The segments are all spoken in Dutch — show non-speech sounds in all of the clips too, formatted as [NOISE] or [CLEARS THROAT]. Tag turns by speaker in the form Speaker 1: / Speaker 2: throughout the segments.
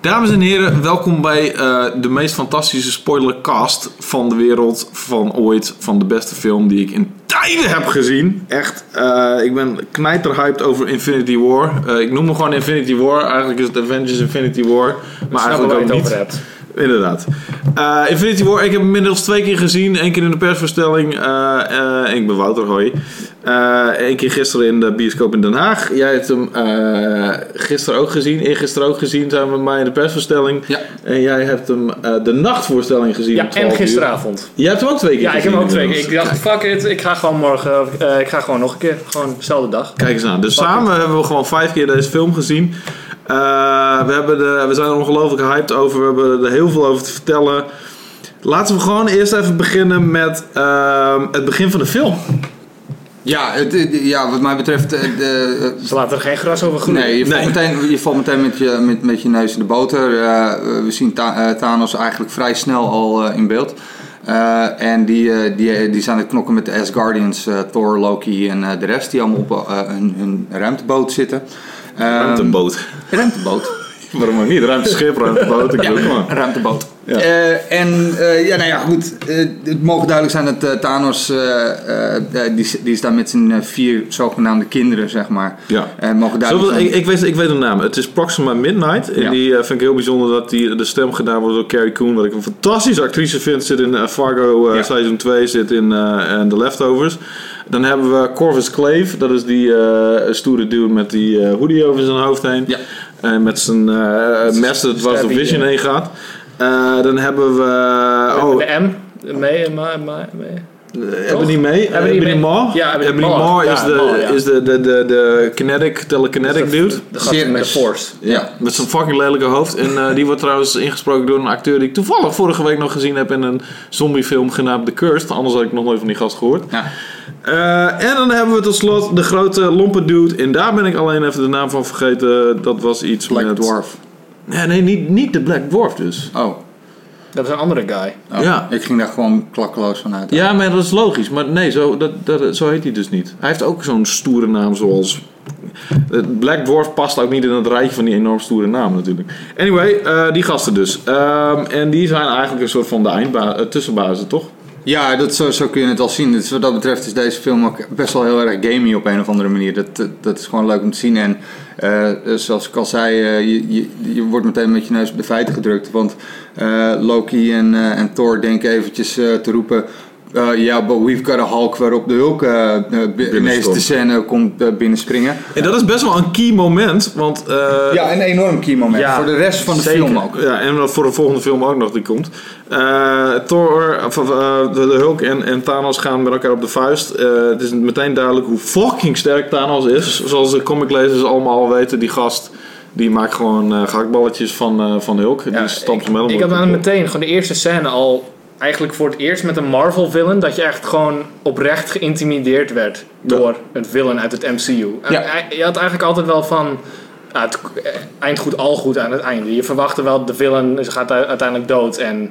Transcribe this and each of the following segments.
Speaker 1: Dames en heren, welkom bij eh, de meest fantastische spoilercast van de wereld van ooit. Van de beste film die ik in tijden heb gezien. Echt, eh, ik ben knijterhyped over Infinity War. Eh, ik noem hem gewoon Infinity War. Eigenlijk is het Avengers Infinity War. Maar eigenlijk ook niet.
Speaker 2: hebt.
Speaker 1: Inderdaad. Eh, Infinity War, ik heb hem inmiddels twee keer gezien. Eén keer in de persvoorstelling. eh, eh, ik ben Wouter, hoi. Eh Eén keer gisteren in de bioscoop in Den Haag. Jij hebt hem eh, gisteren ook gezien. Eergisteren ook gezien zijn we met mij in de persvoorstelling.
Speaker 3: Ja.
Speaker 1: En jij hebt hem eh, de nachtvoorstelling gezien. om
Speaker 2: Ja,
Speaker 1: 12
Speaker 2: en
Speaker 1: uur.
Speaker 2: gisteravond.
Speaker 1: Jij hebt hem ook twee keer
Speaker 2: Ja, ik
Speaker 1: gezien.
Speaker 2: heb hem ook twee keer. Ik
Speaker 1: inmiddels.
Speaker 2: dacht, fuck it, ik ga gewoon morgen, of, eh, ik ga gewoon nog een keer. Gewoon dezelfde dag.
Speaker 1: Kijk eens aan. Dus
Speaker 2: Fuck
Speaker 1: samen hebben we gewoon vijf keer deze film gezien. Eh, we, hebben de, we zijn er ongelooflijk hyped over. We hebben er heel veel over te vertellen. Laten we gewoon eerst even beginnen met ehm, het begin van de film.
Speaker 3: Ja, het, het- ja, wat mij betreft. eh, de-
Speaker 2: Ze laten er geen gras over groeien.
Speaker 3: nee, je valt
Speaker 1: Nee.
Speaker 3: meteen, je valt meteen met, je, met, met je neus in de boter. Eh, eh, we zien Ta- eh, Thanos eigenlijk vrij snel al eh, in beeld. Eh, en die, eh, die, eh, die zijn aan het knokken met de Asgardians, eh Thor, Loki en eh, de rest, die allemaal op eh, hun, hun ruimteboot zitten. Eh,
Speaker 1: ruimteboot.
Speaker 3: ruimteboot.
Speaker 1: Waarom ook niet? Ruimteschip, ruimteboot. Ik
Speaker 3: Ja,
Speaker 1: bedoel, kom maar.
Speaker 3: een ruimteboot.
Speaker 1: Ja.
Speaker 3: Eh, en eh, ja, nou ja, goed. eh, het mogen duidelijk zijn dat eh, Thanos, eh, eh, die, is- die is daar met zijn eh, vier zogenaamde kinderen, zeg maar.
Speaker 1: Ja.
Speaker 3: En het mogen duidelijk
Speaker 1: Zullen we-
Speaker 3: zijn.
Speaker 1: ik, ik, weet, ik weet de naam. Het is Proxima Midnight. En
Speaker 3: Ja.
Speaker 1: die eh, vind ik heel bijzonder dat die, de stem gedaan wordt door Carrie Coon. Wat ik een fantastische actrice vind. Zit in eh, Fargo eh,
Speaker 3: Ja.
Speaker 1: seizoen 2. Zit in eh, en The Leftovers. Dan hebben we Corvus Clave. Dat is die eh, stoere dude met die eh, hoodie over zijn hoofd heen.
Speaker 3: Ja.
Speaker 1: En met zijn eh, mes dat was door
Speaker 2: Stabby,
Speaker 1: Vision
Speaker 2: eh.
Speaker 1: heen gaat. Eh, dan hebben we...
Speaker 2: Met
Speaker 1: Oh,
Speaker 2: Eh,
Speaker 1: eh,
Speaker 2: De M, mee, ma, ma, mee.
Speaker 1: hebben die mee?
Speaker 2: Hebben die
Speaker 1: Ebony
Speaker 2: mee?
Speaker 1: Maw?
Speaker 2: Ja, Ebony
Speaker 1: Ebony
Speaker 2: Maw.
Speaker 1: Maw is,
Speaker 2: Ja,
Speaker 1: de,
Speaker 2: Maw, ja.
Speaker 1: is de, de, de, de kinetic, telekinetic
Speaker 2: Dus de-
Speaker 1: dude.
Speaker 2: De gast met de force.
Speaker 3: Ja.
Speaker 1: Met zijn fucking lelijke hoofd. En eh, die wordt trouwens ingesproken door een acteur die ik toevallig vorige week nog gezien heb in een zombiefilm genaamd The Cursed. Anders had ik nog nooit van die gast gehoord.
Speaker 3: Ja.
Speaker 1: Eh, en dan hebben we tot slot de grote lompe dude. En daar ben ik alleen even de naam van vergeten. Dat was iets
Speaker 3: Black
Speaker 1: met...
Speaker 3: Dwarf.
Speaker 1: Nee, nee niet, niet de Black Dwarf dus.
Speaker 3: Oh.
Speaker 2: Dat is een andere guy.
Speaker 3: Oh.
Speaker 1: Ja.
Speaker 3: Ik ging daar gewoon klakkeloos van uit.
Speaker 1: Ja, maar dat is logisch. Maar nee, zo, dat, dat, zo heet hij dus niet. Hij heeft ook zo'n stoere naam zoals... Eh, Black Dwarf past ook niet in het rijtje van die enorm stoere naam natuurlijk. Anyway, eh, die gasten dus. Ehm, en die zijn eigenlijk een soort van de eindba- eh, tussenbazen, toch?
Speaker 3: Ja, dat, zo, zo kun je het al zien. Dus wat dat betreft is deze film ook best wel heel erg gamey op een of andere manier. Dat, dat, dat is gewoon leuk om te zien. En eh, zoals ik al zei, eh, je, je, je wordt meteen met je neus op de feiten gedrukt. Want eh, Loki en, eh, en Thor denken eventjes eh, te roepen... eh, Ja, but we've got a Hulk waarop de Hulk eh, eh, bi- ineens de scène komt eh, binnenspringen.
Speaker 1: En dat is best wel een key moment, want... eh,
Speaker 3: ja, een enorm key moment.
Speaker 2: Ja,
Speaker 3: voor de rest van de
Speaker 2: zeker.
Speaker 3: film ook.
Speaker 1: Ja, en voor de volgende film ook nog die komt. Eh, Thor, of, of, eh, de, de Hulk en, en Thanos gaan met elkaar op de vuist. Eh, het is meteen duidelijk hoe fucking sterk Thanos is. Zoals de comiclezers allemaal al weten, die gast die maakt gewoon eh gehaktballetjes van, eh, van de Hulk.
Speaker 2: Ja,
Speaker 1: die stampt hem
Speaker 2: Ik
Speaker 1: helemaal
Speaker 2: had
Speaker 1: op.
Speaker 2: dan meteen gewoon de eerste scène al... Eigenlijk voor het eerst met een Marvel villain dat je echt gewoon oprecht geïntimideerd werd door een villain uit het MCU. En
Speaker 3: Ja.
Speaker 2: hij- Je had eigenlijk altijd wel van ah, het eh, eind goed, al goed aan het einde. Je verwachtte wel de villain ze gaat u- uiteindelijk dood en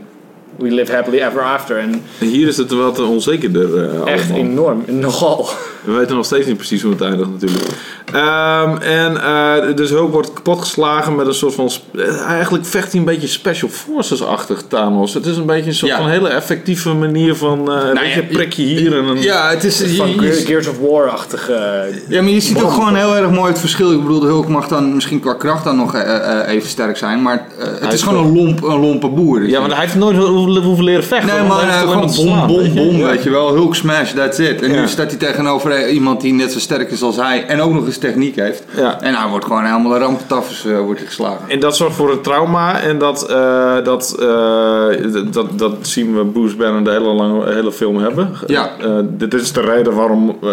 Speaker 2: we live happily ever after. En
Speaker 1: En hier is het wat onzekerder eh
Speaker 2: echt
Speaker 1: allemaal.
Speaker 2: enorm, [LAUGHS] nogal.
Speaker 1: We weten nog steeds niet precies hoe het eindigt natuurlijk. Ehm, en eh, dus Hulk wordt kapotgeslagen met een soort van... sp- eh, Eigenlijk vecht hij een beetje Special Forces-achtig, Thanos. Het is een beetje een soort
Speaker 3: Ja. Nou
Speaker 1: van hele effectieve manier van... eh een beetje
Speaker 3: ja,
Speaker 1: een prikje hier en een...
Speaker 3: Ja, het is...
Speaker 2: Van
Speaker 3: je- je-
Speaker 2: Ge- Gears of War-achtige... eh,
Speaker 3: Ja, maar je ziet ook gewoon heel erg mooi het verschil. Ik bedoel, de Hulk mag dan misschien qua kracht dan nog eh, eh, even sterk zijn, maar eh, het
Speaker 1: is
Speaker 3: is gewoon een, lomp, een lompe boer.
Speaker 1: Ja, maar hij heeft nooit hoeven hoeven leren vechten.
Speaker 3: Nee,
Speaker 1: want
Speaker 3: maar
Speaker 1: hij
Speaker 3: eh,
Speaker 1: heeft alleen
Speaker 3: gewoon
Speaker 1: maar te
Speaker 3: bom,
Speaker 1: slaan,
Speaker 3: bom,
Speaker 1: weet je.
Speaker 3: bom,
Speaker 1: Ja.
Speaker 3: weet je wel. Hulk smash, that's it. En
Speaker 1: Ja.
Speaker 3: nu staat hij tegenover eh, iemand die net zo sterk is als hij en ook nog eens techniek heeft.
Speaker 1: Ja.
Speaker 3: En hij wordt gewoon helemaal een rampetafels eh, wordt hij geslagen.
Speaker 1: En dat zorgt voor een trauma. En dat, eh, dat, eh, d- dat, dat zien we Bruce Banner de hele, lange, hele film hebben.
Speaker 3: Ja.
Speaker 1: Eh, dit is de reden waarom eh,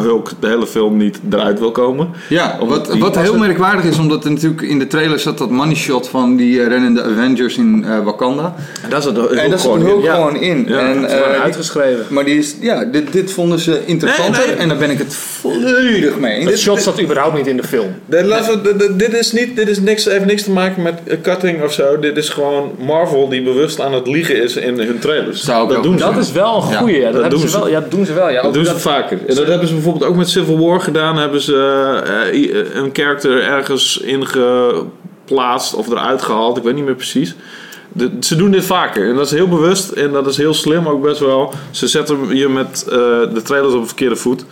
Speaker 1: Hulk de hele film niet eruit wil komen.
Speaker 3: Ja,
Speaker 1: Omdat
Speaker 3: wat,
Speaker 1: die-
Speaker 3: wat heel merkwaardig is, omdat er natuurlijk in de trailer zat dat money shot van die eh, rennende Avengers in eh, Wakanda.
Speaker 1: En daar zit Hulk
Speaker 3: en daar zit
Speaker 1: gewoon in.
Speaker 3: Hulk
Speaker 1: Ja.
Speaker 3: gewoon in.
Speaker 1: Ja,
Speaker 3: en,
Speaker 1: het
Speaker 2: gewoon
Speaker 3: eh,
Speaker 2: uitgeschreven.
Speaker 3: Maar die is, ja, dit, dit vonden ze interessanter
Speaker 1: Nee, nee.
Speaker 3: en daar ben ik het volledig mee.
Speaker 2: Dat
Speaker 3: Dit-
Speaker 2: shot
Speaker 3: dit-
Speaker 2: zat überhaupt niet in de film.
Speaker 1: Nee, laten we- d- d- dit is niet, dit is niks, heeft niks te maken met eh, cutting of zo. Dit is gewoon Marvel die bewust aan het liegen is in hun trailers.
Speaker 3: Zou ik
Speaker 1: dat
Speaker 3: ook
Speaker 1: doen
Speaker 2: Dat
Speaker 1: ze.
Speaker 2: is wel een
Speaker 3: Ja,
Speaker 2: goeie. dat,
Speaker 1: dat
Speaker 2: hebben
Speaker 1: doen
Speaker 2: ze wel.
Speaker 1: ze.
Speaker 2: Ja, dat doen ze wel. Ja,
Speaker 1: Dat
Speaker 2: ook
Speaker 1: doen ze
Speaker 2: dat-
Speaker 1: vaker. En dat hebben ze bijvoorbeeld ook met Civil War gedaan. Hebben ze eh, eh, een character ergens inge geplaatst of eruit gehaald. Ik weet niet meer precies. De- ze doen dit vaker en dat is heel bewust en dat is heel slim ook best wel. Ze zetten je met eh, de trailers op de verkeerde voet.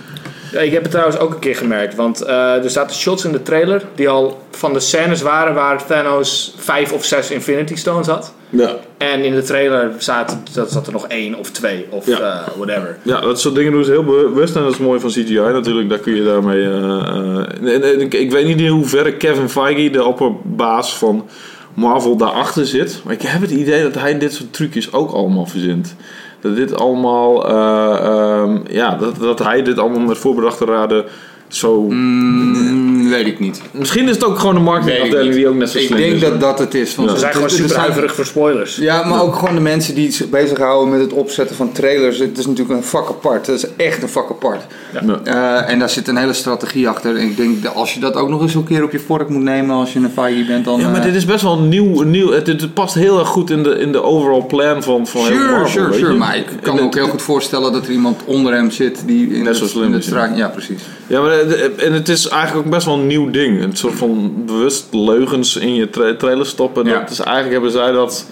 Speaker 2: Ja, Ik heb het trouwens ook een keer gemerkt, want eh, er zaten shots in de trailer die al van de scènes waren waar Thanos vijf of zes Infinity Stones had.
Speaker 1: Ja.
Speaker 2: En in de trailer zaten, dat zat er nog één of twee of
Speaker 1: Ja.
Speaker 2: eh, whatever.
Speaker 1: Ja, dat soort dingen doen ze heel bewust en dat is mooi van CGI natuurlijk. Daar kun je daarmee. eh, eh, en, en ik, ik weet niet in hoeverre Kevin Feige, de opperbaas van Marvel, daarachter zit. Maar ik heb het idee dat hij dit soort trucjes ook allemaal verzint. Dat dit allemaal. eh, ehm, ja, dat, dat hij dit allemaal met voorbedachte raden zo.
Speaker 3: Mm, weet ik niet.
Speaker 1: Misschien is het ook gewoon de
Speaker 3: Weet ik
Speaker 1: marketingafdeling
Speaker 3: niet.
Speaker 1: die ook net zo
Speaker 3: Ik
Speaker 1: slim
Speaker 3: denk dus
Speaker 1: is.
Speaker 3: dat dat het is. want
Speaker 1: Ja.
Speaker 2: Ze
Speaker 3: het-
Speaker 2: zijn gewoon
Speaker 3: het- het
Speaker 2: super huiverig voor spoilers.
Speaker 3: Ja, maar ook gewoon de mensen die zich bezighouden met het opzetten van trailers. Het is natuurlijk een vak apart. Dat is echt een vak apart.
Speaker 1: Ja.
Speaker 3: Eh, en daar zit een hele strategie achter. En ik denk dat als je dat ook nog eens een keer op je vork moet nemen als je een failliet bent, dan.
Speaker 1: Ja, maar
Speaker 3: eh,
Speaker 1: dit is best wel nieuw. nieuw het, het past heel erg goed in de, in de overall plan van, van heel
Speaker 3: Sure,
Speaker 1: Marvel.
Speaker 3: sure,
Speaker 1: weet
Speaker 3: sure.
Speaker 1: je.
Speaker 3: Maar ik kan
Speaker 1: En
Speaker 3: me
Speaker 1: het-
Speaker 3: ook heel goed voorstellen dat er iemand onder hem zit die in
Speaker 1: Net
Speaker 3: het-
Speaker 1: zo slim
Speaker 3: in het
Speaker 1: is, ja.
Speaker 3: straat. Ja, precies.
Speaker 1: Ja, maar eh, de- en het is eigenlijk ook best wel een nieuw ding. Een soort van bewust leugens in je tra- trailer stoppen.
Speaker 3: Ja.
Speaker 1: Dat is, eigenlijk hebben zij dat,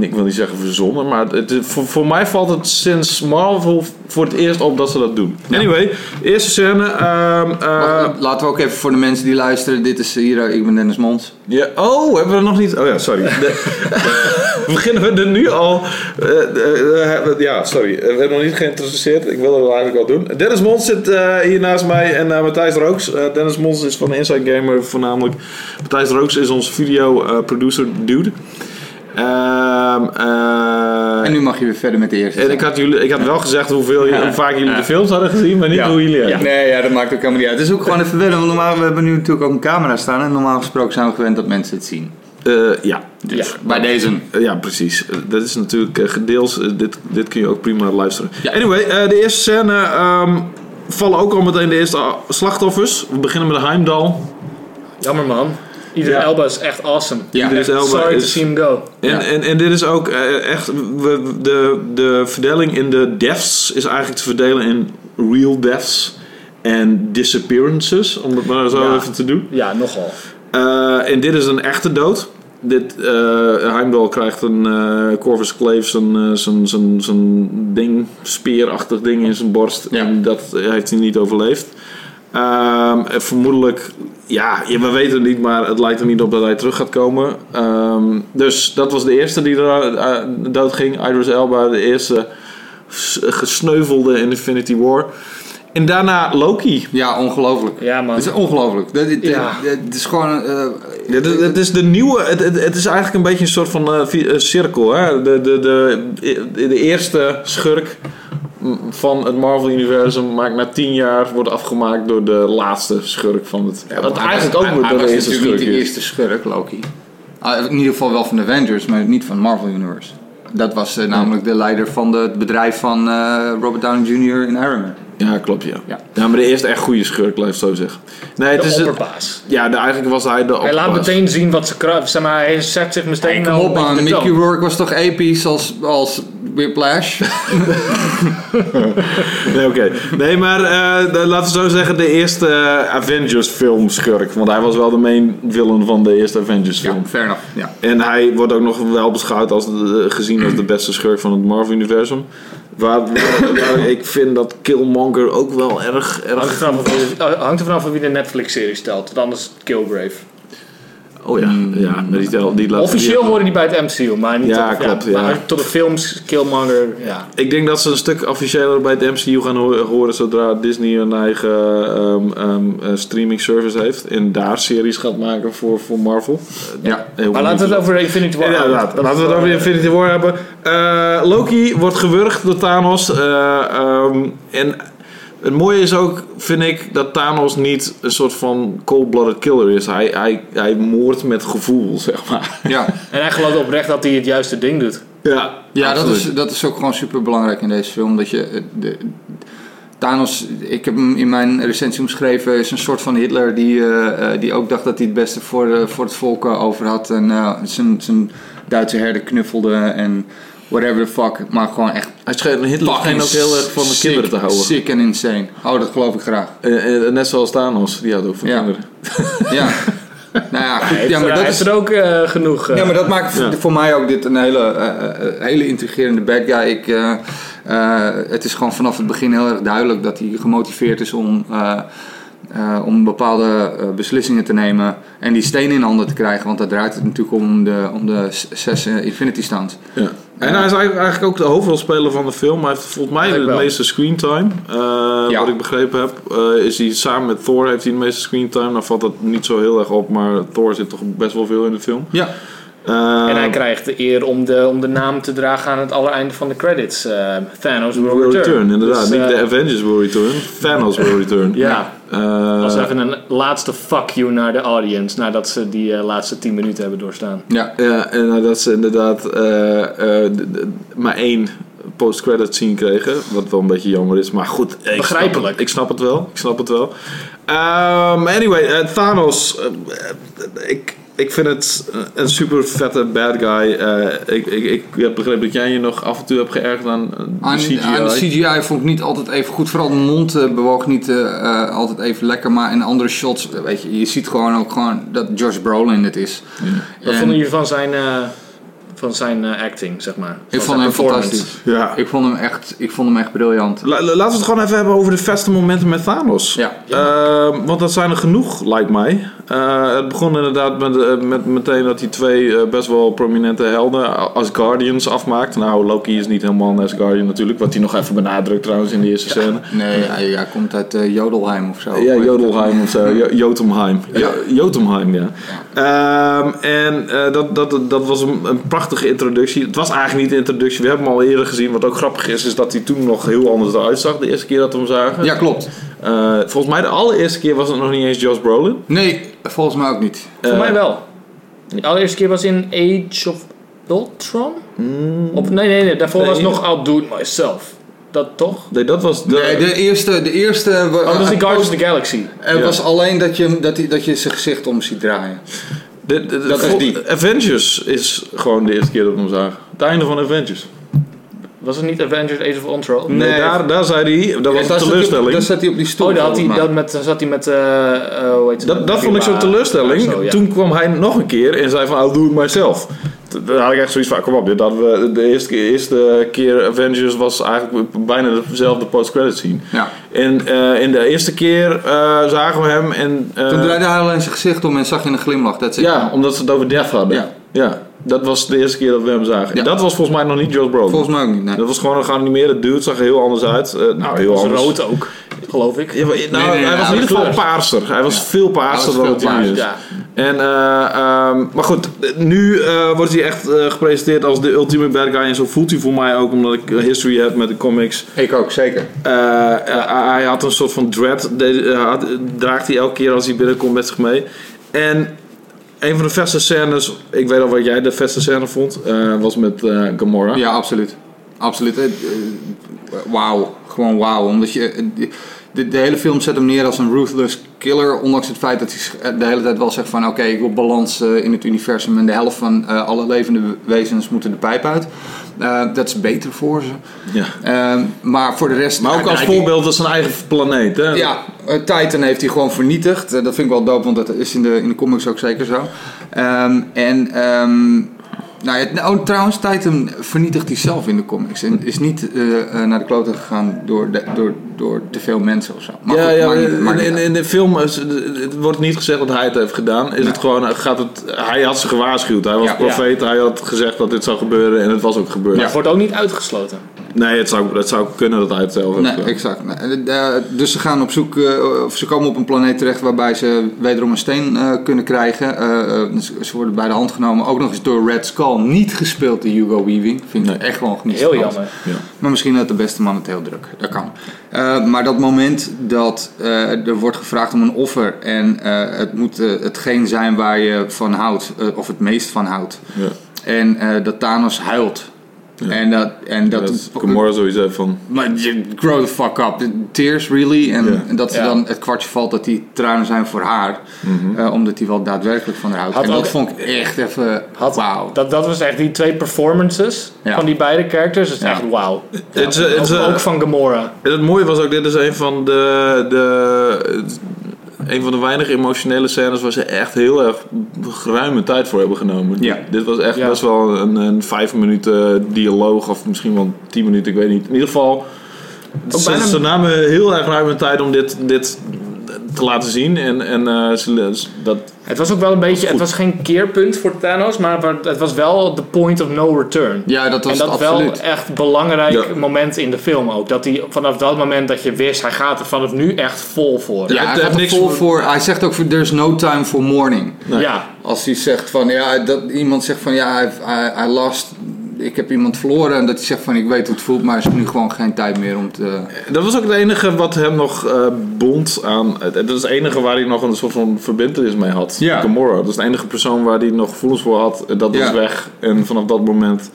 Speaker 1: ik wil niet zeggen verzonnen, maar het, het- voor, voor mij valt het sinds Marvel voor het eerst op dat ze dat doen. Anyway, eerste scène. ehm, eh,
Speaker 3: Wacht, Laten we ook even voor de mensen die luisteren. Dit is hier, eh, ik ben Dennis Mons.
Speaker 1: ja, oh, hebben we nog niet. Oh ja, sorry. De- beginnen we er nu al. eh, eh, eh, ja, sorry. Eh, We hebben nog niet geïntroduceerd. Ik wilde dat eigenlijk al doen. Dennis Mons zit eh, hier naast mij en eh, Matthijs Rooks. Eh, Dennis Mons is van de Inside Gamer voornamelijk. Matthijs Rooks is onze video eh, producer dude. Ehm, eh,
Speaker 3: En nu mag je weer verder met de eerste.
Speaker 1: en ik had, jullie, ik had wel gezegd hoeveel je, hoe vaak jullie de films hadden gezien, maar niet
Speaker 2: Ja.
Speaker 1: hoe jullie.
Speaker 2: Ja.
Speaker 3: Nee, ja, dat maakt ook helemaal niet uit. Het is ook gewoon even wennen, want normaal, we hebben nu natuurlijk ook een camera staan. En normaal gesproken zijn we gewend dat mensen het zien.
Speaker 1: Eh, ja.
Speaker 2: Ja.
Speaker 3: Bij deze.
Speaker 1: Eh, Ja, precies. Eh, Dat is natuurlijk eh, gedeels. eh, Dit, dit kun je ook prima luisteren.
Speaker 3: Ja.
Speaker 1: Anyway, eh, de eerste scène ehm, vallen ook al meteen de eerste ah, slachtoffers. We beginnen met de Heimdal.
Speaker 2: Jammer man. Iedereen
Speaker 1: Ja.
Speaker 2: Elba is echt awesome.
Speaker 3: Ja.
Speaker 1: Idris
Speaker 2: Echt
Speaker 1: Elba
Speaker 2: sorry
Speaker 1: is-
Speaker 2: to see him go.
Speaker 1: En,
Speaker 3: Ja.
Speaker 1: en, en dit is ook eh, echt. we- we- de, de verdeling in de deaths is eigenlijk te verdelen in real deaths en disappearances. Om het maar zo
Speaker 2: Ja.
Speaker 1: even te doen.
Speaker 2: Ja, nogal.
Speaker 1: Eh, en dit is een echte dood. Dit, eh, Heimdall krijgt een eh, Corvus Clave zijn, eh, zijn, zijn, zijn ding, speerachtig ding in zijn borst.
Speaker 3: Ja.
Speaker 1: En dat heeft hij niet overleefd. Ehm, en vermoedelijk, ja, ja, we weten het niet, maar het lijkt er niet op dat hij terug gaat komen. Ehm, dus dat was de eerste die er eh, dood ging. Idris Elba, de eerste s- gesneuvelde in Infinity War. En daarna Loki.
Speaker 3: Ja, ongelooflijk.
Speaker 2: Ja man.
Speaker 3: Het is ongelooflijk. Dat- Het,
Speaker 2: Ja.
Speaker 3: het, het is gewoon. eh,
Speaker 1: Het, het- het is de nieuwe, het, het, het is eigenlijk een beetje een soort van eh, vi- eh, cirkel. Hè? De, de, de, de eerste schurk van het Marvel-universum maakt na tien jaar wordt afgemaakt door de laatste schurk van het.
Speaker 3: ja,
Speaker 1: dat
Speaker 3: hij
Speaker 1: eigenlijk
Speaker 3: was-
Speaker 1: ook
Speaker 3: hij-
Speaker 1: moet
Speaker 3: hij
Speaker 1: door
Speaker 3: was
Speaker 1: de eerste
Speaker 3: natuurlijk
Speaker 1: schurk.
Speaker 3: niet de
Speaker 1: is.
Speaker 3: eerste schurk, Loki. Ah, in ieder geval wel van de Avengers, maar niet van Marvel Universe. Dat was eh, namelijk de leider van de, het bedrijf van eh, Robert Downey Jr. in Iron Man.
Speaker 1: Ja, klopt ja. ja.
Speaker 3: Ja.
Speaker 1: maar de eerste echt goede schurk, blijft zo zeggen. Nee, het
Speaker 2: de
Speaker 1: is.
Speaker 2: opperbaas.
Speaker 1: ja, de, eigenlijk was hij de.
Speaker 2: Hij laat
Speaker 1: opperbaas.
Speaker 2: meteen zien wat ze kracht. Zeg maar, hij zet zich meteen
Speaker 3: Hey,
Speaker 2: al
Speaker 3: kom op
Speaker 2: een beetje
Speaker 3: man,
Speaker 2: de
Speaker 3: Mickey
Speaker 2: toon.
Speaker 3: Rourke was toch episch als, als Whiplash?
Speaker 1: Nee, oké. Nee, maar eh, de- laten we zo zeggen, de eerste eh, Avengers-film schurk. Want hij was wel de main villain van de eerste Avengers-film.
Speaker 3: ja, fair enough. Ja.
Speaker 1: En hij wordt ook nog wel beschouwd als de- gezien als de beste schurk van het Marvel-universum. Waar, waar- waar ik vind dat Killmonger ook wel erg...
Speaker 2: Hangt er
Speaker 1: erg...
Speaker 2: vanaf of- eh, Hangt er vanaf van wie de Netflix-serie stelt. Want anders Killgrave.
Speaker 1: Oh ja, ja die, tel- die laat-
Speaker 2: Officieel
Speaker 1: die-
Speaker 2: horen die bij het MCU, maar niet
Speaker 1: Ja,
Speaker 2: tot, de-
Speaker 1: klopt, ja.
Speaker 2: maar tot de films Killmonger. Ja.
Speaker 1: Ik denk dat ze een stuk officiëler bij het MCU gaan ho- horen zodra Disney een eigen ehm, ehm, eh, streaming service heeft. En daar series gaat maken voor, voor Marvel. Eh,
Speaker 3: Ja.
Speaker 1: Heel
Speaker 2: Maar laten we het
Speaker 1: benieuwd.
Speaker 2: over Infinity War
Speaker 1: Ja,
Speaker 2: hebben.
Speaker 1: inderdaad. Laten we het over Infinity War hebben. Eh, Loki wordt gewurgd door Thanos. eh, ehm, en het mooie is ook, vind ik, dat Thanos niet een soort van cold-blooded killer is. Hij, hij, hij moordt met gevoel, [LAUGHS] zeg maar.
Speaker 3: Ja,
Speaker 2: En hij gelooft oprecht dat hij het juiste ding doet.
Speaker 1: Ja,
Speaker 3: ja dat,
Speaker 1: absoluut.
Speaker 3: is, dat is ook gewoon super belangrijk in deze film. Dat je, eh, de, Thanos, ik heb hem in mijn recensie omschreven, is een soort van Hitler die, eh, eh, die ook dacht dat hij het beste voor, eh, voor het volk eh, over had. En eh, zijn, zijn Duitse herden knuffelde en whatever the fuck. Maar gewoon echt
Speaker 1: Hij schijnt Hitler schijnt ook heel erg van de
Speaker 3: sick-
Speaker 1: kinderen te houden.
Speaker 3: Sick en insane. Oh, dat geloof ik graag.
Speaker 1: Eh, eh, net zoals Thanos, die had ook van
Speaker 3: Ja.
Speaker 1: kinderen.
Speaker 3: Ja. Nou ja, goed,
Speaker 2: Hij
Speaker 3: ja,
Speaker 2: heeft,
Speaker 3: maar
Speaker 2: er-
Speaker 3: dat
Speaker 2: hij
Speaker 3: is,
Speaker 2: heeft er ook eh, genoeg. eh,
Speaker 3: ja, maar dat maakt
Speaker 1: Ja.
Speaker 3: voor mij ook dit een hele, eh, eh, hele intrigerende bad guy. Ik, eh, eh, het is gewoon vanaf het begin heel erg duidelijk dat hij gemotiveerd is om, eh, eh, om bepaalde eh, beslissingen te nemen. En die stenen in handen te krijgen, want daar draait het natuurlijk om de, om de s- zes eh, Infinity Stones.
Speaker 1: Ja. En hij is eigenlijk, eigenlijk ook de hoofdrolspeler van de film. Hij heeft volgens mij
Speaker 2: Eigenlijk
Speaker 1: de
Speaker 2: wel.
Speaker 1: meeste screentime. Eh
Speaker 3: Ja.
Speaker 1: Wat ik begrepen heb, eh, is hij samen met Thor heeft hij de meeste screentime. Dan valt dat niet zo heel erg op, maar Thor zit toch best wel veel in de film.
Speaker 3: Ja,
Speaker 1: Eh,
Speaker 2: en hij krijgt de eer om de, om de naam te dragen aan het allereinde van de credits. eh, Thanos Will
Speaker 1: Will
Speaker 2: Return.
Speaker 1: Return, inderdaad.
Speaker 2: Dus, eh,
Speaker 1: niet de Avengers Will Return, Thanos Will Return.
Speaker 2: [LAUGHS] Ja,
Speaker 1: Eh,
Speaker 2: als even een laatste fuck you naar de audience. Nadat ze die eh, laatste 10 minuten hebben doorstaan.
Speaker 3: ja.
Speaker 1: Ja, en eh, dat ze inderdaad eh, eh, d- d- maar één post-credit scene kregen. Wat wel een beetje jammer is, maar goed. eh, ik
Speaker 2: Begrijpelijk.
Speaker 1: snap het. Ik snap het wel. Ik snap het wel. Ehm, anyway, eh, Thanos. eh, eh, ik, ik vind het eh, een super vette bad guy. Eh, ik, ik, ik heb begrepen dat jij je nog af en toe hebt geërgerd aan eh, de
Speaker 3: Aan,
Speaker 1: CGI.
Speaker 3: aan de CGI vond ik niet altijd even goed. Vooral de mond eh, bewoog niet eh, eh, altijd even lekker. Maar in andere shots, eh, weet je, je ziet gewoon ook gewoon dat Josh Brolin het is.
Speaker 2: Wat
Speaker 3: En
Speaker 2: vonden jullie van zijn, eh, van zijn eh, acting, zeg maar? Van
Speaker 3: ik vond
Speaker 2: zijn
Speaker 3: hem
Speaker 2: performance?
Speaker 3: fantastisch.
Speaker 1: ja.
Speaker 3: Ik vond hem echt, ik vond hem echt briljant.
Speaker 1: La- la- laten we het gewoon even hebben over de beste momenten met Thanos.
Speaker 3: Ja.
Speaker 1: Ehm, want dat zijn er genoeg, lijkt mij. Eh, het begon inderdaad met, eh, met meteen dat die twee eh, best wel prominente helden als Guardians afmaakt. Nou, Loki is niet helemaal een Asgardian natuurlijk, wat hij nog even benadrukt trouwens in de eerste scène.
Speaker 3: Nee, hij, hij komt uit eh, Jodelheim of zo.
Speaker 1: Ja, Jodelheim of zo. [LAUGHS] Jo- Jotunheim. Jo- Jotunheim, ja. Ehm, en eh, dat, dat, dat was een, een prachtige introductie. Het was eigenlijk niet de introductie. We hebben hem al eerder gezien. Wat ook grappig is, is dat hij toen nog heel anders eruit zag. De eerste keer dat we hem zagen.
Speaker 3: Ja, klopt.
Speaker 1: Eh, volgens mij de allereerste keer was het nog niet eens Josh Brolin.
Speaker 3: Nee, volgens mij ook niet.
Speaker 2: Voor
Speaker 1: Eh,
Speaker 2: mij wel. De allereerste keer was in Age of Ultron? Of, nee, nee, nee. Daarvoor
Speaker 1: Mm. Nee.
Speaker 2: was nog I'll Do It Myself. Dat toch?
Speaker 1: Nee, dat was de...
Speaker 3: Nee, de eerste... De eerste
Speaker 2: Oh, dat is
Speaker 3: eh,
Speaker 2: die Guardians of the Galaxy.
Speaker 3: er
Speaker 1: Ja.
Speaker 3: was alleen dat je, hem- dat, hij- dat je zijn gezicht om ziet draaien.
Speaker 1: de- de- de-
Speaker 3: dat is
Speaker 1: vol-
Speaker 3: die.
Speaker 1: Avengers is gewoon de eerste keer dat we hem zagen. Het einde van Avengers.
Speaker 2: Was het niet Avengers Age of Ultron?
Speaker 1: Nee, daar, daar zei hij... Dat was een
Speaker 3: Daar zat hij op-
Speaker 1: teleurstelling.
Speaker 3: Daar zat hij op die stoel.
Speaker 2: Oh, daar had hij,
Speaker 3: volgens
Speaker 2: dat
Speaker 3: mij.
Speaker 2: met, zat hij met, eh eh, hoe heet ze
Speaker 1: Dat, dat vond ik zo'n
Speaker 2: Villa-
Speaker 1: teleurstelling.
Speaker 2: Zo, ja.
Speaker 1: Toen kwam hij nog een keer en zei van, I'll do it myself. T- Daar had ik echt zoiets van, kom op, dit hadden we, de eerste, keer- eerste keer Avengers was eigenlijk bijna dezelfde post-credit scene.
Speaker 3: Ja.
Speaker 1: En eh, in de eerste keer eh, zagen we hem en... eh,
Speaker 3: Toen draaide hij alleen zijn gezicht om en zag je een glimlach. Dat is
Speaker 1: Ja, omdat ze het over Death hadden.
Speaker 3: Ja.
Speaker 1: dat was de eerste keer dat we hem zagen.
Speaker 3: Ja.
Speaker 1: Dat was volgens mij nog niet Josh Brolin.
Speaker 3: Volgens mij ook niet, nee.
Speaker 1: Dat was gewoon een geanimeerde dude, zag er heel anders uit. Eh, nou, heel
Speaker 2: Was
Speaker 1: anders.
Speaker 2: rood ook, geloof ik.
Speaker 1: Ja, maar- nou,
Speaker 3: nee, nee,
Speaker 1: hij was in
Speaker 3: hij
Speaker 1: ieder
Speaker 2: was
Speaker 1: geval paarser. Hij was
Speaker 3: Ja.
Speaker 1: veel
Speaker 3: Hij
Speaker 1: paarser
Speaker 3: was
Speaker 1: dan
Speaker 3: veel
Speaker 1: het nu is.
Speaker 3: paarser,
Speaker 2: ja.
Speaker 1: En, eh, ehm, maar goed, nu eh, wordt hij echt eh, gepresenteerd als de ultieme bad guy. En zo voelt hij voor mij ook, omdat ik eh, history heb met de comics.
Speaker 3: Ik ook, zeker.
Speaker 1: Eh, eh, hij had een soort van dread. De- eh, had- draagt hij elke keer als hij binnenkomt met zich mee. En een van de beste scènes, ik weet al wat jij de beste scène vond, eh, was met eh, Gamora.
Speaker 3: Ja, absoluut. Absoluut. Eh, eh, Wauw. Gewoon wauw. Omdat je... eh, De, de hele film zet hem neer als een ruthless killer. Ondanks het feit dat hij sch- eh, de hele tijd wel zegt van... Oké, ik wil balans eh, in het universum. En de helft van eh, alle levende wezens moeten de pijp uit. Eh, dat is beter voor ze.
Speaker 1: Ja.
Speaker 3: Eh, maar voor de rest...
Speaker 1: Maar ook
Speaker 3: Ja,
Speaker 1: als
Speaker 3: kijk, ik-
Speaker 1: voorbeeld, dat is zijn eigen planeet. Hè?
Speaker 3: Ja, eh, Titan heeft hij gewoon vernietigd. Eh, Dat vind ik wel dope, want dat is in de, in de comics ook zeker zo. Ehm, en ehm, nou ja, nou, trouwens, Titan vernietigt hij zelf in de comics. En is niet eh, eh, naar de kloten gegaan door, de- door, door te veel mensen of zo. Maar
Speaker 1: ja,
Speaker 3: goed,
Speaker 1: ja
Speaker 3: maakt niet-
Speaker 1: in,
Speaker 3: maakt niet
Speaker 1: in,
Speaker 3: uit.
Speaker 1: in de film is- het wordt niet gezegd dat hij het heeft gedaan. Is het gewoon, gaat het, hij had ze gewaarschuwd. Hij was
Speaker 3: Ja.
Speaker 1: profeet, hij had gezegd dat dit zou gebeuren en het was ook gebeurd.
Speaker 2: Maar het wordt ook niet uitgesloten.
Speaker 1: Nee, het zou, het zou kunnen dat hij het zelf heeft
Speaker 3: Nee,
Speaker 1: gedaan.
Speaker 3: exact. Nee, eh, eh, dus ze gaan op zoek, eh, of ze komen op een planeet terecht waarbij ze wederom een steen eh, kunnen krijgen. Eh, eh, ze- ze worden bij de hand genomen, ook nog eens door Red Skull. Niet gespeeld door Hugo Weaving. Vind ik
Speaker 1: Nee.
Speaker 3: echt gewoon geniet.
Speaker 2: Heel jammer.
Speaker 3: Maar misschien had de beste man het heel druk. Dat kan. Eh, maar dat moment dat eh, er wordt gevraagd om een offer en eh, het moet eh, hetgeen zijn waar je van houdt, eh, of het meest van houdt.
Speaker 1: Ja.
Speaker 3: En eh, dat Thanos huilt. En dat, en dat,
Speaker 1: Dat is Gamora sowieso van...
Speaker 3: maar je- grow the fuck up. Tears really. En,
Speaker 1: Ja.
Speaker 3: en dat ze
Speaker 2: Ja.
Speaker 3: dan het kwartje valt dat die tranen zijn voor haar.
Speaker 1: Mhm.
Speaker 3: eh, omdat hij wel daadwerkelijk van haar houdt.
Speaker 2: Had
Speaker 3: en dat
Speaker 2: ook-
Speaker 3: vond ik echt even.
Speaker 2: Had,
Speaker 3: Wauw.
Speaker 2: dat, dat was echt die twee performances
Speaker 3: Ja.
Speaker 2: van die beide characters. Dat is
Speaker 3: Ja.
Speaker 2: echt wauw.
Speaker 1: Het is, eh, het is,
Speaker 2: Ook,
Speaker 1: eh,
Speaker 2: ook van Gamora.
Speaker 1: En het mooie was ook, dit is een van de, de een van de weinige emotionele scènes waar ze echt heel erg ruime tijd voor hebben genomen.
Speaker 3: Ja.
Speaker 1: Dit was echt
Speaker 2: Ja.
Speaker 1: best wel een, een vijf minuten dialoog of misschien wel tien minuten, ik weet niet. In ieder geval, ze,
Speaker 2: bijna-
Speaker 1: ze namen heel erg ruime tijd om dit, dit te laten zien. En, en eh, ze, dat,
Speaker 2: Het was ook wel een beetje, het was geen keerpunt voor Thanos, maar wa- het was wel de point of no return.
Speaker 3: Ja, dat was
Speaker 2: en dat
Speaker 3: het
Speaker 2: wel
Speaker 3: absoluut.
Speaker 2: echt belangrijk
Speaker 1: Ja.
Speaker 2: moment in de film ook. Dat hij vanaf dat moment dat je wist, hij gaat er vanaf nu echt vol voor.
Speaker 3: ja,
Speaker 1: het
Speaker 3: hij
Speaker 1: heeft
Speaker 3: gaat er
Speaker 1: niks
Speaker 3: vol
Speaker 1: voor-
Speaker 3: voor. Hij zegt ook: voor, There's no time for mourning.
Speaker 1: Nee.
Speaker 2: ja.
Speaker 3: Als hij zegt van ja, dat iemand zegt van ja, hij- hij- hij lost. Ik heb iemand verloren en dat hij zegt van ik weet hoe het voelt, maar er is nu gewoon geen tijd meer om te.
Speaker 1: Dat was ook het enige wat hem nog eh bond aan. eh, Dat is het enige waar hij nog een soort van verbindenis mee had.
Speaker 3: Ja.
Speaker 1: Gamora. Dat is de enige persoon waar hij nog gevoelens voor had. En dat
Speaker 3: Ja.
Speaker 1: was weg. En vanaf dat moment.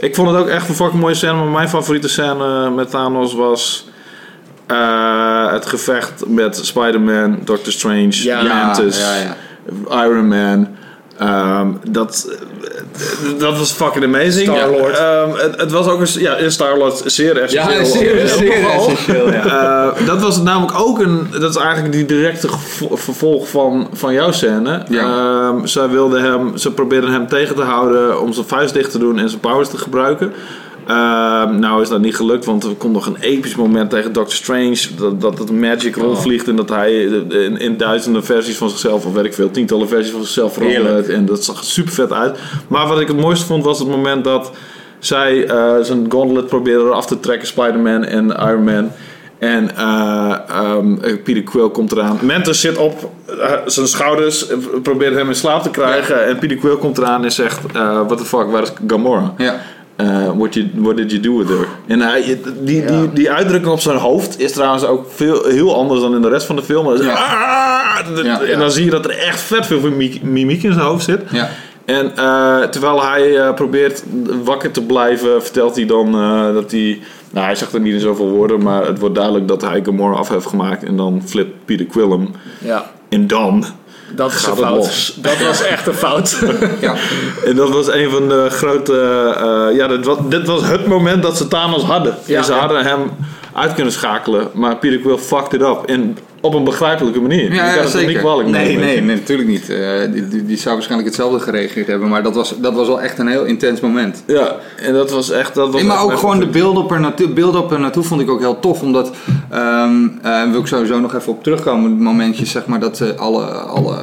Speaker 1: Ik vond het ook echt een fucking mooie scène. Maar mijn favoriete scène met Thanos was. eh, het gevecht met Spider-Man, Doctor Strange,
Speaker 2: Ja.
Speaker 1: Mantis,
Speaker 3: ja, ja.
Speaker 1: Iron Man. Ehm, dat, dat was fucking amazing.
Speaker 2: Star-Lord.
Speaker 1: Ja, ehm, het, het was ook een, ja, Star-Lord zeer essentieel.
Speaker 3: essentieel. Oh, Ja.
Speaker 1: Eh, dat was namelijk ook een. Dat is eigenlijk die directe gevo- vervolg van, van jouw scène.
Speaker 3: Ja.
Speaker 1: Ehm, zij wilden hem. Ze probeerden hem tegen te houden om zijn vuist dicht te doen en zijn powers te gebruiken. Ehm, nou is dat niet gelukt, want er komt nog een episch moment tegen Doctor Strange. Dat, dat het magic
Speaker 3: Oh.
Speaker 1: rondvliegt en dat hij eh, in, in duizenden versies van zichzelf, of weet ik veel, tientallen versies van zichzelf verandert.
Speaker 3: Heerlijk.
Speaker 1: En dat zag super vet uit. Maar wat ik het mooiste vond was het moment dat zij eh, zijn gauntlet probeerde eraf te trekken, Spider-Man en Iron Man. En eh, ehm, eh, Peter Quill komt eraan. Mantis zit op eh, zijn schouders, eh, probeert hem in slaap te krijgen. En Peter Quill komt eraan en zegt: eh What the fuck, waar is Gamora?
Speaker 3: Ja.
Speaker 1: Eh, what, you, what did you do with her? En hij, die, die, die, uitdrukking op zijn hoofd is trouwens ook veel, heel anders dan in de rest van de film. Hij is,
Speaker 3: Ja.
Speaker 1: "Ah!"
Speaker 3: Ja.
Speaker 1: En dan zie je dat er echt vet veel mimiek, mimiek in zijn hoofd zit.
Speaker 3: Ja.
Speaker 1: En eh, terwijl hij eh, probeert wakker te blijven, vertelt hij dan eh, dat hij. Nou, hij zegt er niet in zoveel woorden, maar het wordt duidelijk dat hij Gamora af heeft gemaakt. En dan flipt Peter Quill hem.
Speaker 2: Ja,
Speaker 1: En dan.
Speaker 2: dat is
Speaker 1: Gaat
Speaker 2: een
Speaker 1: het
Speaker 2: fout.
Speaker 1: los.
Speaker 2: Dat was echt een fout.
Speaker 3: Ja.
Speaker 1: En dat was een van de grote. eh, ja, dit was, dit was het moment dat ze Thanos hadden.
Speaker 2: Ja.
Speaker 1: en ze hadden hem uit kunnen schakelen, maar Peter Quill fucked it up. En op een begrijpelijke manier.
Speaker 3: Ja,
Speaker 1: je kan
Speaker 3: ja,
Speaker 1: het toch
Speaker 3: zeker.
Speaker 1: niet kwalijk
Speaker 3: nee,
Speaker 1: nemen.
Speaker 3: nee, nee, natuurlijk niet. Eh, die, die- die zou waarschijnlijk hetzelfde gereageerd hebben, maar dat was, dat was wel echt een heel intens moment.
Speaker 1: Ja, en dat was echt. Dat was
Speaker 3: Nee, maar
Speaker 1: echt
Speaker 3: ook
Speaker 1: mijn
Speaker 3: gewoon de beelden op, er naartoe, beelden op er naartoe vond ik ook heel tof. Omdat, ehm eh, wil ik sowieso nog even op terugkomen, het momentje zeg maar dat eh, alle, alle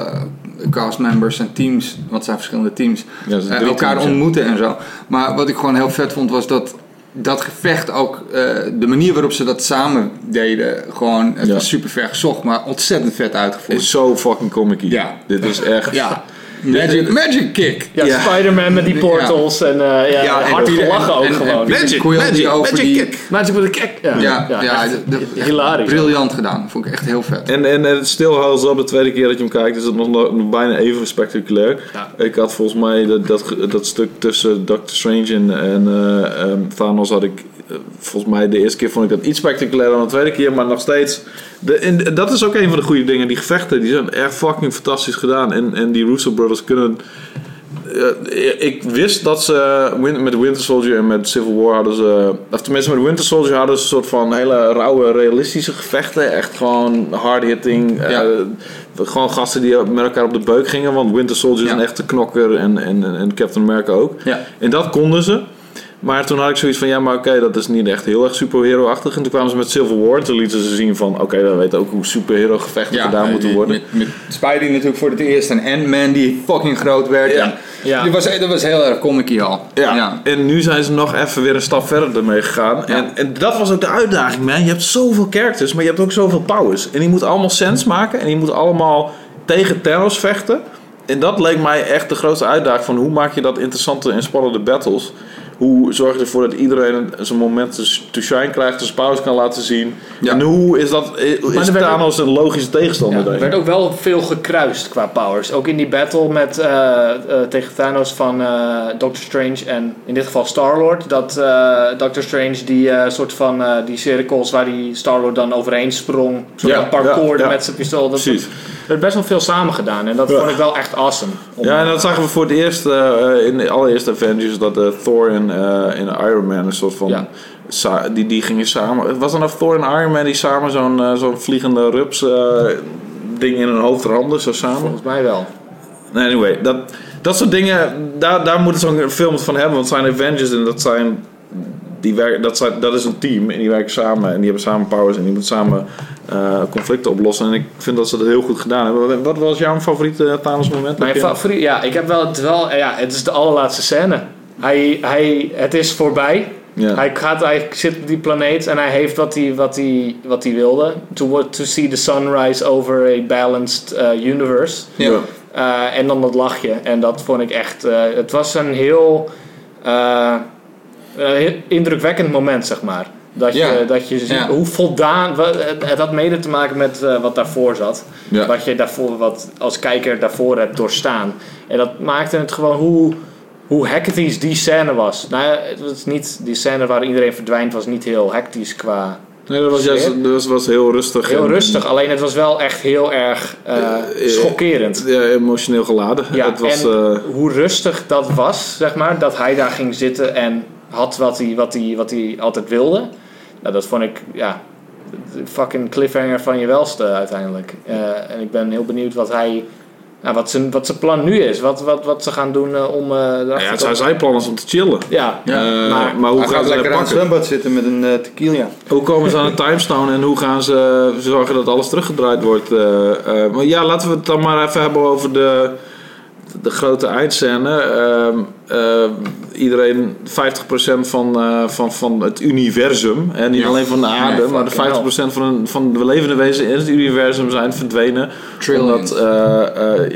Speaker 3: castmembers en teams, want het zijn verschillende teams,
Speaker 1: Ja, er zijn
Speaker 3: eh,
Speaker 1: drie
Speaker 3: elkaar
Speaker 1: teams, ja.
Speaker 3: ontmoeten en zo. Maar wat ik gewoon heel vet vond was dat dat gevecht ook, eh, de manier waarop ze dat samen deden, gewoon, het
Speaker 1: Ja.
Speaker 3: was super ver gezocht, maar ontzettend vet uitgevoerd.
Speaker 1: is zo fucking comic
Speaker 3: Ja.
Speaker 1: Dit is echt.
Speaker 3: ja, magic, magic
Speaker 2: [LAUGHS]
Speaker 3: kick!
Speaker 2: Ja,
Speaker 1: Ja.
Speaker 2: Spider-Man met die portals en eh ja,
Speaker 3: en
Speaker 2: hard
Speaker 3: iedereen-
Speaker 2: gelachen ook
Speaker 3: en- en-
Speaker 2: gewoon.
Speaker 3: Magic, magic, magic kick.
Speaker 2: Magic with a kick. Ja,
Speaker 3: Ja, ja,
Speaker 2: echt
Speaker 3: de- de- echt
Speaker 2: hilarisch.
Speaker 3: briljant gedaan. Vond ik echt heel vet.
Speaker 1: En, en het stilhouden op de tweede keer dat je hem kijkt, is het nog, nog bijna even spectaculair.
Speaker 2: Ja.
Speaker 1: Ik had volgens mij dat, dat, ge- dat stuk tussen Doctor Strange en, en eh, ehm, Thanos had ik. eh, Volgens mij de eerste keer vond ik dat iets spectaculairder dan de tweede keer, maar nog steeds. De, en dat is ook een van de goede dingen. Die gevechten die zijn echt fucking fantastisch gedaan. En, en die Russo Brothers kunnen eh, ik wist dat ze win- met Winter Soldier en met Civil War hadden ze... Of tenminste, met Winter Soldier hadden ze een soort van hele rauwe, realistische gevechten. Echt gewoon hard-hitting. eh,
Speaker 3: Ja.
Speaker 1: gewoon gasten die met elkaar op de beuk gingen. Want Winter Soldier is
Speaker 3: Ja.
Speaker 1: een echte knokker en, en, en Captain America ook.
Speaker 3: Ja.
Speaker 1: En dat konden ze. Maar toen had ik zoiets van, ja, maar oké, dat is niet echt heel erg superhero-achtig. En toen kwamen ze met Civil War. Toen lieten ze zien van, oké, we weten ook hoe superhero-gevechten gedaan moeten
Speaker 3: eh,
Speaker 1: worden.
Speaker 3: Met, met Spidey natuurlijk voor het eerst en Ant-Man die fucking groot werd.
Speaker 1: Ja.
Speaker 3: En
Speaker 2: Ja.
Speaker 3: Die was, dat was heel erg comic al.
Speaker 1: Ja.
Speaker 3: ja.
Speaker 1: en nu zijn ze nog even weer een stap verder ermee gegaan. En, en dat was ook de uitdaging, man. Je hebt zoveel characters, maar je hebt ook zoveel powers. En die moeten allemaal sens maken en die moeten allemaal tegen Thanos vechten. En dat leek mij echt de grootste uitdaging van hoe maak je dat interessante en spannende battles. Hoe zorg je ervoor dat iedereen zijn moment to sh- to shine krijgt, zijn powers kan laten zien.
Speaker 3: Ja.
Speaker 1: En hoe is, dat, is
Speaker 2: er werd ook-
Speaker 1: Thanos een logische tegenstander?
Speaker 2: Ja, er
Speaker 1: daarin?
Speaker 2: werd ook wel veel gekruist qua powers. Ook in die battle met, eh, eh, tegen Thanos van eh, Doctor Strange en in dit geval Star-Lord. Dat eh, Doctor Strange die eh, soort van eh, die cirkels waar die Star-Lord dan overheen sprong. Zo'n
Speaker 1: Ja,
Speaker 2: ja, parcours
Speaker 1: ja, ja.
Speaker 2: met zijn pistool. Dat
Speaker 1: Precies.
Speaker 2: Er werd best wel veel samen gedaan en dat
Speaker 1: Ja.
Speaker 2: vond ik wel echt awesome. Om-
Speaker 1: Ja, en dat zagen we voor het eerst eh, eh, in de allereerste Avengers dat eh, Thor en, eh, en Iron Man een soort van.
Speaker 2: Ja.
Speaker 1: sa- die, die gingen samen. Was dan nou Thor en Iron Man die samen zo'n eh, zo'n vliegende rups eh, ding in hun hoofd ramden, zo samen.
Speaker 2: Volgens mij wel.
Speaker 1: Anyway, dat, dat soort dingen, daar, daar moet het zo'n film van hebben. Want het zijn Avengers en dat zijn. Die werken, dat, zijn, dat is een team en die werken samen en die hebben samen powers en die moeten samen eh, conflicten oplossen. En ik vind dat ze dat heel goed gedaan hebben. Wat- Wat was jouw favoriete eh, Thanos moment?
Speaker 2: Mijn
Speaker 1: Heb je-
Speaker 2: favoriet, ja, ik heb wel het wel, ja, het is de allerlaatste scène. Hij, hij, het is voorbij.
Speaker 1: Ja.
Speaker 2: Hij, gaat, hij zit op die planeet en hij heeft wat hij, wat hij, wat hij wilde. To, wa- to see the sunrise over a balanced eh, universe.
Speaker 1: Ja.
Speaker 3: Ja.
Speaker 2: Eh, en dan dat lachje. En dat vond ik echt. eh, het was een heel, eh, eh, heel indrukwekkend moment, zeg maar. Dat je,
Speaker 3: Ja.
Speaker 2: dat je ziet
Speaker 3: Ja.
Speaker 2: hoe voldaan. wa- Het het had mede te maken met eh, wat daarvoor zat.
Speaker 1: Ja. Eh,
Speaker 2: Wat je daarvoor, wat als kijker daarvoor hebt doorstaan. En dat maakte het gewoon hoe. Hoe hectisch die scène was. Nou, ja, het was niet, die scène waar iedereen verdwijnt was niet heel hectisch qua.
Speaker 1: Nee, dat was, juist, dat was, was heel rustig.
Speaker 2: Heel
Speaker 1: en-
Speaker 2: rustig, alleen het was wel echt heel erg eh,
Speaker 1: Eh, eh,
Speaker 2: schokkerend.
Speaker 1: Ja, emotioneel geladen.
Speaker 2: Ja,
Speaker 1: het was,
Speaker 2: en
Speaker 1: eh,
Speaker 2: hoe rustig dat was, zeg maar, dat hij daar ging zitten en had wat hij, wat hij, wat hij altijd wilde. Nou, dat vond ik, ja, de fucking cliffhanger van je welste uiteindelijk. Eh, en ik ben heel benieuwd wat hij, nou, wat zijn, wat zijn plan nu is, wat, wat, wat ze gaan doen eh, om eh
Speaker 1: ja,
Speaker 2: erachter
Speaker 1: het
Speaker 2: te
Speaker 1: zijn zijn plannen om te chillen.
Speaker 2: Ja,
Speaker 3: Ja.
Speaker 1: Eh,
Speaker 2: maar-
Speaker 1: maar, hoe
Speaker 3: Hij
Speaker 1: gaan
Speaker 3: gaat
Speaker 1: ze
Speaker 3: lekker
Speaker 1: dat
Speaker 3: aan
Speaker 1: pakken?
Speaker 3: het zwembad zitten met een eh, tequila.
Speaker 1: Hoe komen ze aan een timestone en hoe gaan ze zorgen dat alles teruggedraaid wordt? eh, eh, maar ja, laten we het dan maar even hebben over de, de grote eindscène. Ehm, eh, iedereen, 50% van, eh, van, van het universum, en niet
Speaker 3: Ja.
Speaker 1: alleen van de aarde,
Speaker 3: Nee,
Speaker 1: maar de
Speaker 2: fucking
Speaker 1: 50% van, een- van de levende wezens in het universum zijn verdwenen.
Speaker 3: Trillions.
Speaker 1: Omdat eh, eh,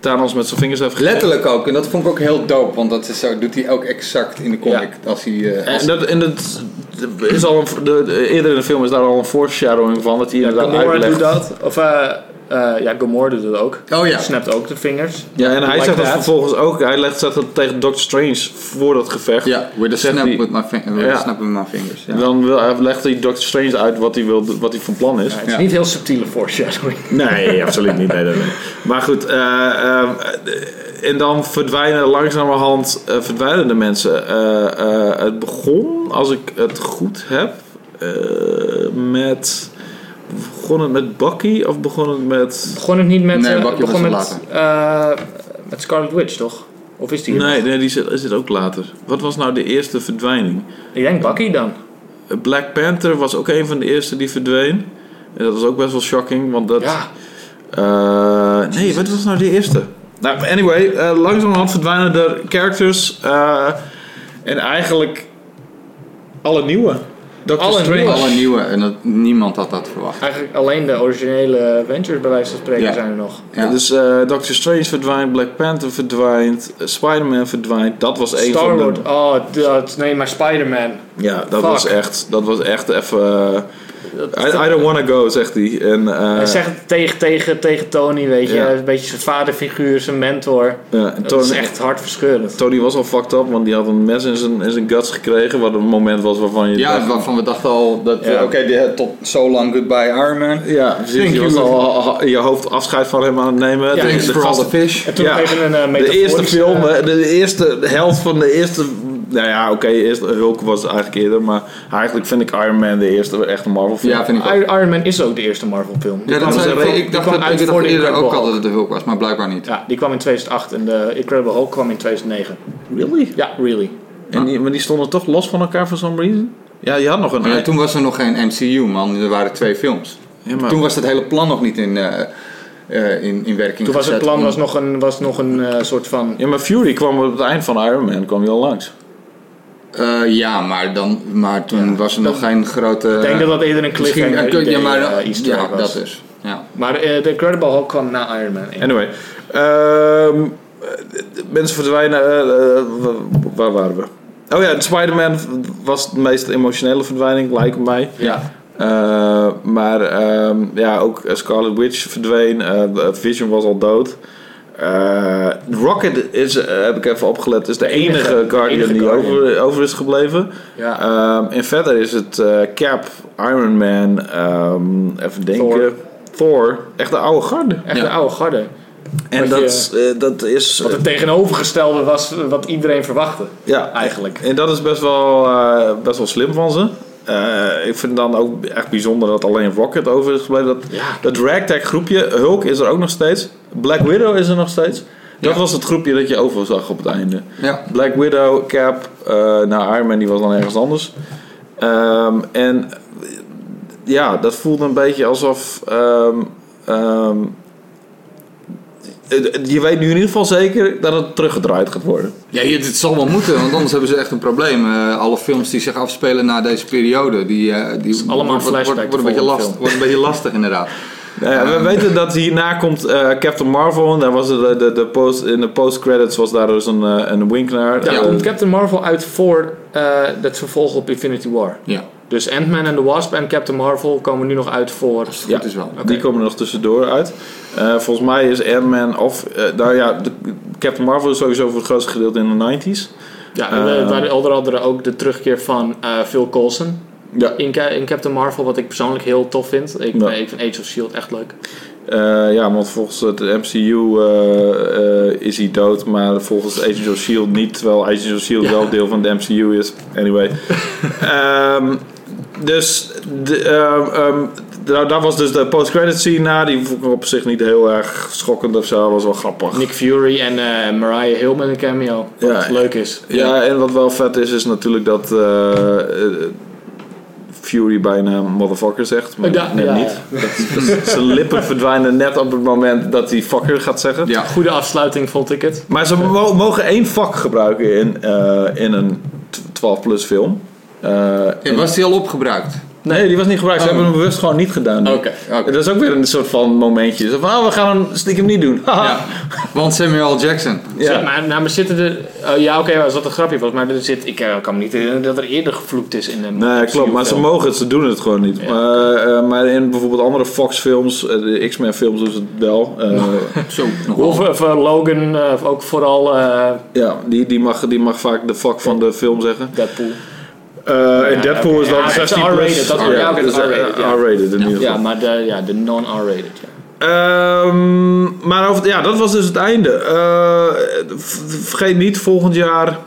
Speaker 1: Thanos met zijn vingers heeft gegeten.
Speaker 3: Letterlijk ook, en dat vond ik ook heel dope, want dat is zo, doet hij ook exact in de comic. Als hij, eh, als-
Speaker 1: En dat, en dat is al een, de, de- eerder in de film is daar al een foreshadowing van dat hij inderdaad
Speaker 2: Gamora
Speaker 1: uitlegt.
Speaker 2: doet dat, of eh, eh, ja, Gamora doet dat ook.
Speaker 3: Oh ja.
Speaker 2: Snapt ook de vingers.
Speaker 1: Ja, en hij
Speaker 2: Like
Speaker 1: zegt dat
Speaker 2: that.
Speaker 1: vervolgens ook. Hij legt zegt dat tegen Doctor Strange voor dat gevecht.
Speaker 3: Ja, with a
Speaker 1: Zegt
Speaker 3: snap
Speaker 1: die-
Speaker 3: with my, fin- with a
Speaker 1: Ja.
Speaker 3: snap with my fingers. Ja.
Speaker 1: Dan wil, hij legt hij Doctor Strange uit wat hij, wil, wat hij van plan is.
Speaker 2: Ja, het is
Speaker 3: Ja.
Speaker 2: niet heel subtiele foreshadowing.
Speaker 1: Nee, absoluut niet. Nee, nee, nee. Maar goed, eh, eh, en dan verdwijnen langzamerhand eh, verdwijnen de mensen. Eh, eh, het begon, als ik het goed heb, eh, met. Begon het met Bucky of begon het met.
Speaker 2: Begon het niet met,
Speaker 3: Nee,
Speaker 2: eh,
Speaker 3: Bucky
Speaker 2: begon
Speaker 3: was
Speaker 2: met,
Speaker 3: het
Speaker 2: eh, met Scarlet Witch, toch? Of is die er
Speaker 1: Nee,
Speaker 2: nog?
Speaker 1: nee die zit, is het ook later. Wat was nou de eerste verdwijning?
Speaker 2: Ik denk Bucky dan.
Speaker 1: Black Panther was ook een van de eerste die verdween. En dat was ook best wel shocking, want dat...
Speaker 2: Ja.
Speaker 1: Eh, nee, wat was nou die eerste? Nou, anyway, eh, langzamerhand verdwijnen de characters. eh, en eigenlijk alle nieuwe. Doctor
Speaker 2: Alle
Speaker 1: Strange.
Speaker 2: nieuwe.
Speaker 3: Alle nieuwe, en dat, niemand had dat verwacht.
Speaker 2: Eigenlijk alleen de originele Avengers bij wijze van spreken
Speaker 3: Ja.
Speaker 2: zijn er nog.
Speaker 3: Ja.
Speaker 1: Dus eh Doctor Strange verdwijnt, Black Panther verdwijnt, eh, Spider-Man verdwijnt. Dat was één van de...
Speaker 2: Star-Lord, oh, dat, nee, maar Spider-Man.
Speaker 1: Ja, dat
Speaker 2: Fuck.
Speaker 1: was echt... Dat was echt even... eh,
Speaker 2: Dat-
Speaker 1: I, I don't wanna go, zegt hij. En, eh,
Speaker 2: Hij zegt het tegen, tegen, tegen Tony, weet je.
Speaker 1: Ja.
Speaker 2: Hij is Een beetje zijn vaderfiguur, zijn mentor.
Speaker 1: ja, en
Speaker 2: Dat is
Speaker 1: Tony-
Speaker 2: echt hartverscheurend.
Speaker 1: Tony was al fucked up, want die had een mes in zijn, in zijn guts gekregen. Wat een moment was waarvan je.
Speaker 3: Ja,
Speaker 1: dacht-
Speaker 3: waarvan we dachten al dat,
Speaker 2: Ja.
Speaker 3: eh, oké, die- tot zo lang goodbye Iron Man.
Speaker 1: ja precies.
Speaker 3: Thank
Speaker 1: Je
Speaker 3: you.
Speaker 1: was al al- in je hoofd afscheid van hem aan het nemen.
Speaker 2: Ja,
Speaker 1: de,
Speaker 3: Thanks
Speaker 1: de,
Speaker 3: for all the
Speaker 1: gasten-
Speaker 3: fish.
Speaker 2: En toen
Speaker 1: Ja.
Speaker 2: nog even een eh,
Speaker 1: de
Speaker 2: metaforische-
Speaker 1: eerste film, hè, de, de eerste de helft van de eerste. Nou ja, oké, eerst Hulk was het eigenlijk eerder, maar eigenlijk vind ik Iron Man de eerste echte Marvel film.
Speaker 3: Ja, vind ik ook.
Speaker 2: Iron Iron Man is ook de eerste Marvel film.
Speaker 3: Ja, dat
Speaker 1: kwam
Speaker 3: zei
Speaker 1: dus
Speaker 3: ik,
Speaker 1: uit-
Speaker 3: ik dacht,
Speaker 2: kwam
Speaker 3: dat,
Speaker 2: uit
Speaker 3: ik
Speaker 2: voor
Speaker 3: dacht
Speaker 2: de
Speaker 3: eerder ook
Speaker 2: Incredible
Speaker 3: al dat het de Hulk was, maar blijkbaar niet.
Speaker 2: Ja, die kwam in 2008 en de Incredible Hulk kwam in 2009.
Speaker 1: Really?
Speaker 2: Ja, really.
Speaker 1: En die, maar die stonden toch los van elkaar for some reason? Ja, je had nog een.
Speaker 3: Maar ja, toen was er nog geen MCU, man. Er waren twee films.
Speaker 1: Ja, maar-
Speaker 3: Toen was dat hele plan nog niet in, eh, eh, in, in werking
Speaker 2: Toen was het
Speaker 3: gezet
Speaker 2: plan
Speaker 3: om-
Speaker 2: was nog een, was nog een eh, soort van...
Speaker 1: ja, maar Fury kwam op het eind van Iron Man, kwam hij al langs.
Speaker 3: Eh, ja, maar, dan, maar toen
Speaker 2: Ja.
Speaker 3: was er nog
Speaker 2: Dan-
Speaker 3: geen grote...
Speaker 2: Ik denk dat dat eerder een cliffhanger
Speaker 3: Misschien,
Speaker 2: idee,
Speaker 3: ja, maar,
Speaker 2: eh, easter
Speaker 3: ja,
Speaker 2: egg was.
Speaker 3: dat is. Ja.
Speaker 2: Maar eh, de Incredible Hulk kwam na Iron Man 1.
Speaker 1: Anyway. ehm, de- de mensen verdwijnen. eh, eh, wa- waar waren we? Oh ja, Spider-Man was de meest emotionele verdwijning, lijkt mij.
Speaker 3: Ja.
Speaker 1: Eh, maar ehm, ja, ook eh, Scarlet Witch verdween. eh, Vision was al dood. Eh, Rocket is, eh, heb ik even opgelet, is de, enige,
Speaker 2: enige-
Speaker 1: Guardian
Speaker 2: enige
Speaker 1: die
Speaker 2: Guardian.
Speaker 1: Over, over is gebleven.
Speaker 2: Ja.
Speaker 1: Ehm, en verder is het eh, Cap, Iron Man, ehm, even denken. Thor.
Speaker 2: Thor.
Speaker 1: echt de oude garde.
Speaker 2: Echt
Speaker 3: Ja.
Speaker 2: een oude garde.
Speaker 1: En
Speaker 2: Wat
Speaker 1: dat,
Speaker 2: je-
Speaker 1: is, eh, dat is.
Speaker 2: Wat
Speaker 1: eh,
Speaker 2: het tegenovergestelde was eh, wat iedereen verwachtte.
Speaker 1: ja,
Speaker 2: Eigenlijk.
Speaker 1: En dat is best wel, eh, best wel slim van ze. eh, ik vind dan ook echt bijzonder dat alleen Rocket over is gebleven. Dat,
Speaker 2: Ja.
Speaker 1: dat ragtag groepje, Hulk is er ook nog steeds. Black Widow is er nog steeds. Dat
Speaker 3: Ja.
Speaker 1: was het groepje dat je over zag op het einde.
Speaker 3: Ja.
Speaker 1: Black Widow, Cap, eh nou Iron Man die was dan ergens anders. Ehm, en eh, ja, dat voelde een beetje alsof... ehm, ehm, eh, je weet nu in ieder geval zeker dat het teruggedraaid gaat worden.
Speaker 3: Ja, hier- dit zal wel moeten, want anders [LAUGHS] hebben ze echt een probleem. Eh, alle films die zich afspelen na deze periode, die, eh die
Speaker 2: allemaal
Speaker 3: wordt- wordt,
Speaker 2: flashback
Speaker 3: wordt, wordt een beetje
Speaker 2: voor een
Speaker 3: last,
Speaker 2: film.
Speaker 3: wordt een beetje lastig inderdaad.
Speaker 1: Nou ja, we weten dat hierna komt eh, Captain Marvel. En daar was de, de, de post, in de post-credits was daar dus een, eh, een wink naar.
Speaker 2: Daar
Speaker 1: Eh,
Speaker 2: komt Captain Marvel uit voor eh het vervolg op Infinity War.
Speaker 3: Ja,
Speaker 2: Dus Ant-Man en the Wasp en Captain Marvel komen nu nog uit voor...
Speaker 3: dat
Speaker 1: Ja.
Speaker 3: goed is wel.
Speaker 1: Die komen er nog tussendoor uit. Eh, volgens mij is Ant-Man of... eh, nou ja, de- Captain Marvel is sowieso voor het grootste gedeelte in de 90s.
Speaker 2: Ja,
Speaker 1: Eh,
Speaker 2: en, waren onder andere ook de terugkeer van eh, Phil Coulson
Speaker 1: Ja.
Speaker 2: in, Ca- in Captain Marvel, wat ik persoonlijk heel tof vind. Ik,
Speaker 1: Ja.
Speaker 2: ik vind Age of S.H.I.E.L.D. E echt leuk.
Speaker 1: Eh, ja, want volgens het MCU eh, eh, is hij dood, maar volgens Agents of S.H.I.E.L.D. E niet. Terwijl Agents of S.H.I.E.L.D.
Speaker 2: Ja.
Speaker 1: E wel deel van de MCU is.
Speaker 2: [LAUGHS]
Speaker 1: Anyway. Ehm, dus de, ehm, ehm, nou, dat was dus de post-credit scene na. Die vond ik op zich niet heel erg schokkend of zo. Dat was wel grappig.
Speaker 2: Nick Fury en eh, Mariah Hill met een cameo, wat
Speaker 1: Ja.
Speaker 2: leuk is.
Speaker 1: Ja, en wat wel vet is, is natuurlijk dat eh, eh, Fury bijna motherfucker zegt. Maar
Speaker 2: Ja,
Speaker 1: net
Speaker 2: ja,
Speaker 1: niet. Dat, dat- zijn lippen verdwijnen net op het moment dat hij fucker gaat zeggen.
Speaker 3: Ja,
Speaker 2: Goede afsluiting vond ik het.
Speaker 1: Maar ze mo- mogen één vak gebruiken in, eh, in een t- 12-plus film. Eh,
Speaker 3: Ja, was die al opgebruikt?
Speaker 1: nee, die was niet gebruikt. Ze
Speaker 3: Oh.
Speaker 1: hebben hem bewust gewoon niet gedaan.
Speaker 3: Oké, oké.
Speaker 1: Dat is ook weer een soort van momentje. Zo van, ah, we gaan hem stiekem niet doen.
Speaker 3: Ja,
Speaker 1: Haha.
Speaker 3: want Samuel Jackson.
Speaker 2: Ja.
Speaker 1: Ja.
Speaker 2: maar, nou, maar zitten er... oh, ja, oké, als dat een grapje was. Maar er zit, ik eh, kan me niet herinneren dat er eerder gevloekt is in een
Speaker 1: Nee, klopt. Maar ze
Speaker 2: MCU-film.
Speaker 1: mogen het. Ze doen het gewoon niet. Maar, eh, maar in bijvoorbeeld andere Fox-films, eh, de X-Men-films doen ze het wel. Eh,
Speaker 2: Oh.
Speaker 3: Zo, nog
Speaker 2: Of, of, eh, Logan, eh, ook vooral eh,
Speaker 1: [LAUGHS] ja, die, die, mag, die mag vaak de fuck van de film zeggen.
Speaker 2: Deadpool.
Speaker 1: Eh en
Speaker 2: Ja,
Speaker 1: Deadpool
Speaker 2: oké.
Speaker 1: is dan
Speaker 2: Ja, het is
Speaker 1: 16
Speaker 2: R-rated, dat- ja, oké, dat is
Speaker 1: dus, eh,
Speaker 2: R-rated, ja.
Speaker 1: R-rated in ieder
Speaker 2: Ja,
Speaker 1: geval.
Speaker 2: maar de, ja, de non-R-rated, ja.
Speaker 1: Ehm, maar over, ja, dat was dus het einde. Eh, v- vergeet niet, volgend jaar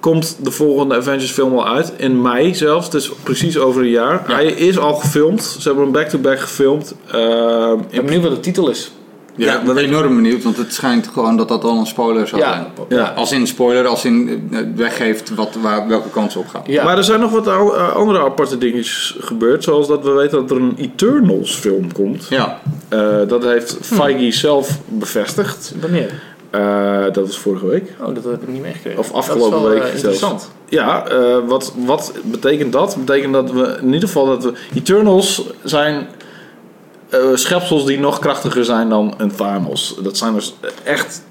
Speaker 1: komt de volgende Avengers film al uit. In mei zelfs, dus precies over een jaar. Hij is al gefilmd. Ze hebben hem back-to-back gefilmd. Ehm,
Speaker 2: Ik ben benieuwd wat de titel is.
Speaker 3: Ja,
Speaker 1: Ja,
Speaker 3: ik ben enorm benieuwd, want het schijnt gewoon dat dat al een spoiler zou zijn.
Speaker 2: Ja,
Speaker 1: ja.
Speaker 3: Als in spoiler, als in eh, weggeeft wat, waar, welke kant ze op gaan.
Speaker 2: ja.
Speaker 1: Maar er zijn nog wat ou- eh, andere aparte dingetjes gebeurd. Zoals dat we weten dat er een Eternals film komt.
Speaker 3: Ja,
Speaker 1: Eh, dat heeft Feige zelf bevestigd.
Speaker 2: wanneer?
Speaker 1: Eh, dat was vorige week.
Speaker 2: Oh, dat heb ik niet meegekregen.
Speaker 1: Of afgelopen
Speaker 2: dat is wel,
Speaker 1: week
Speaker 2: eh,
Speaker 1: zelfs.
Speaker 2: interessant.
Speaker 1: Ja, eh, wat, wat betekent dat? Betekent dat we in ieder geval dat we. Eternals zijn eh, schepsels die nog krachtiger zijn dan een Thanos. Dat zijn dus echt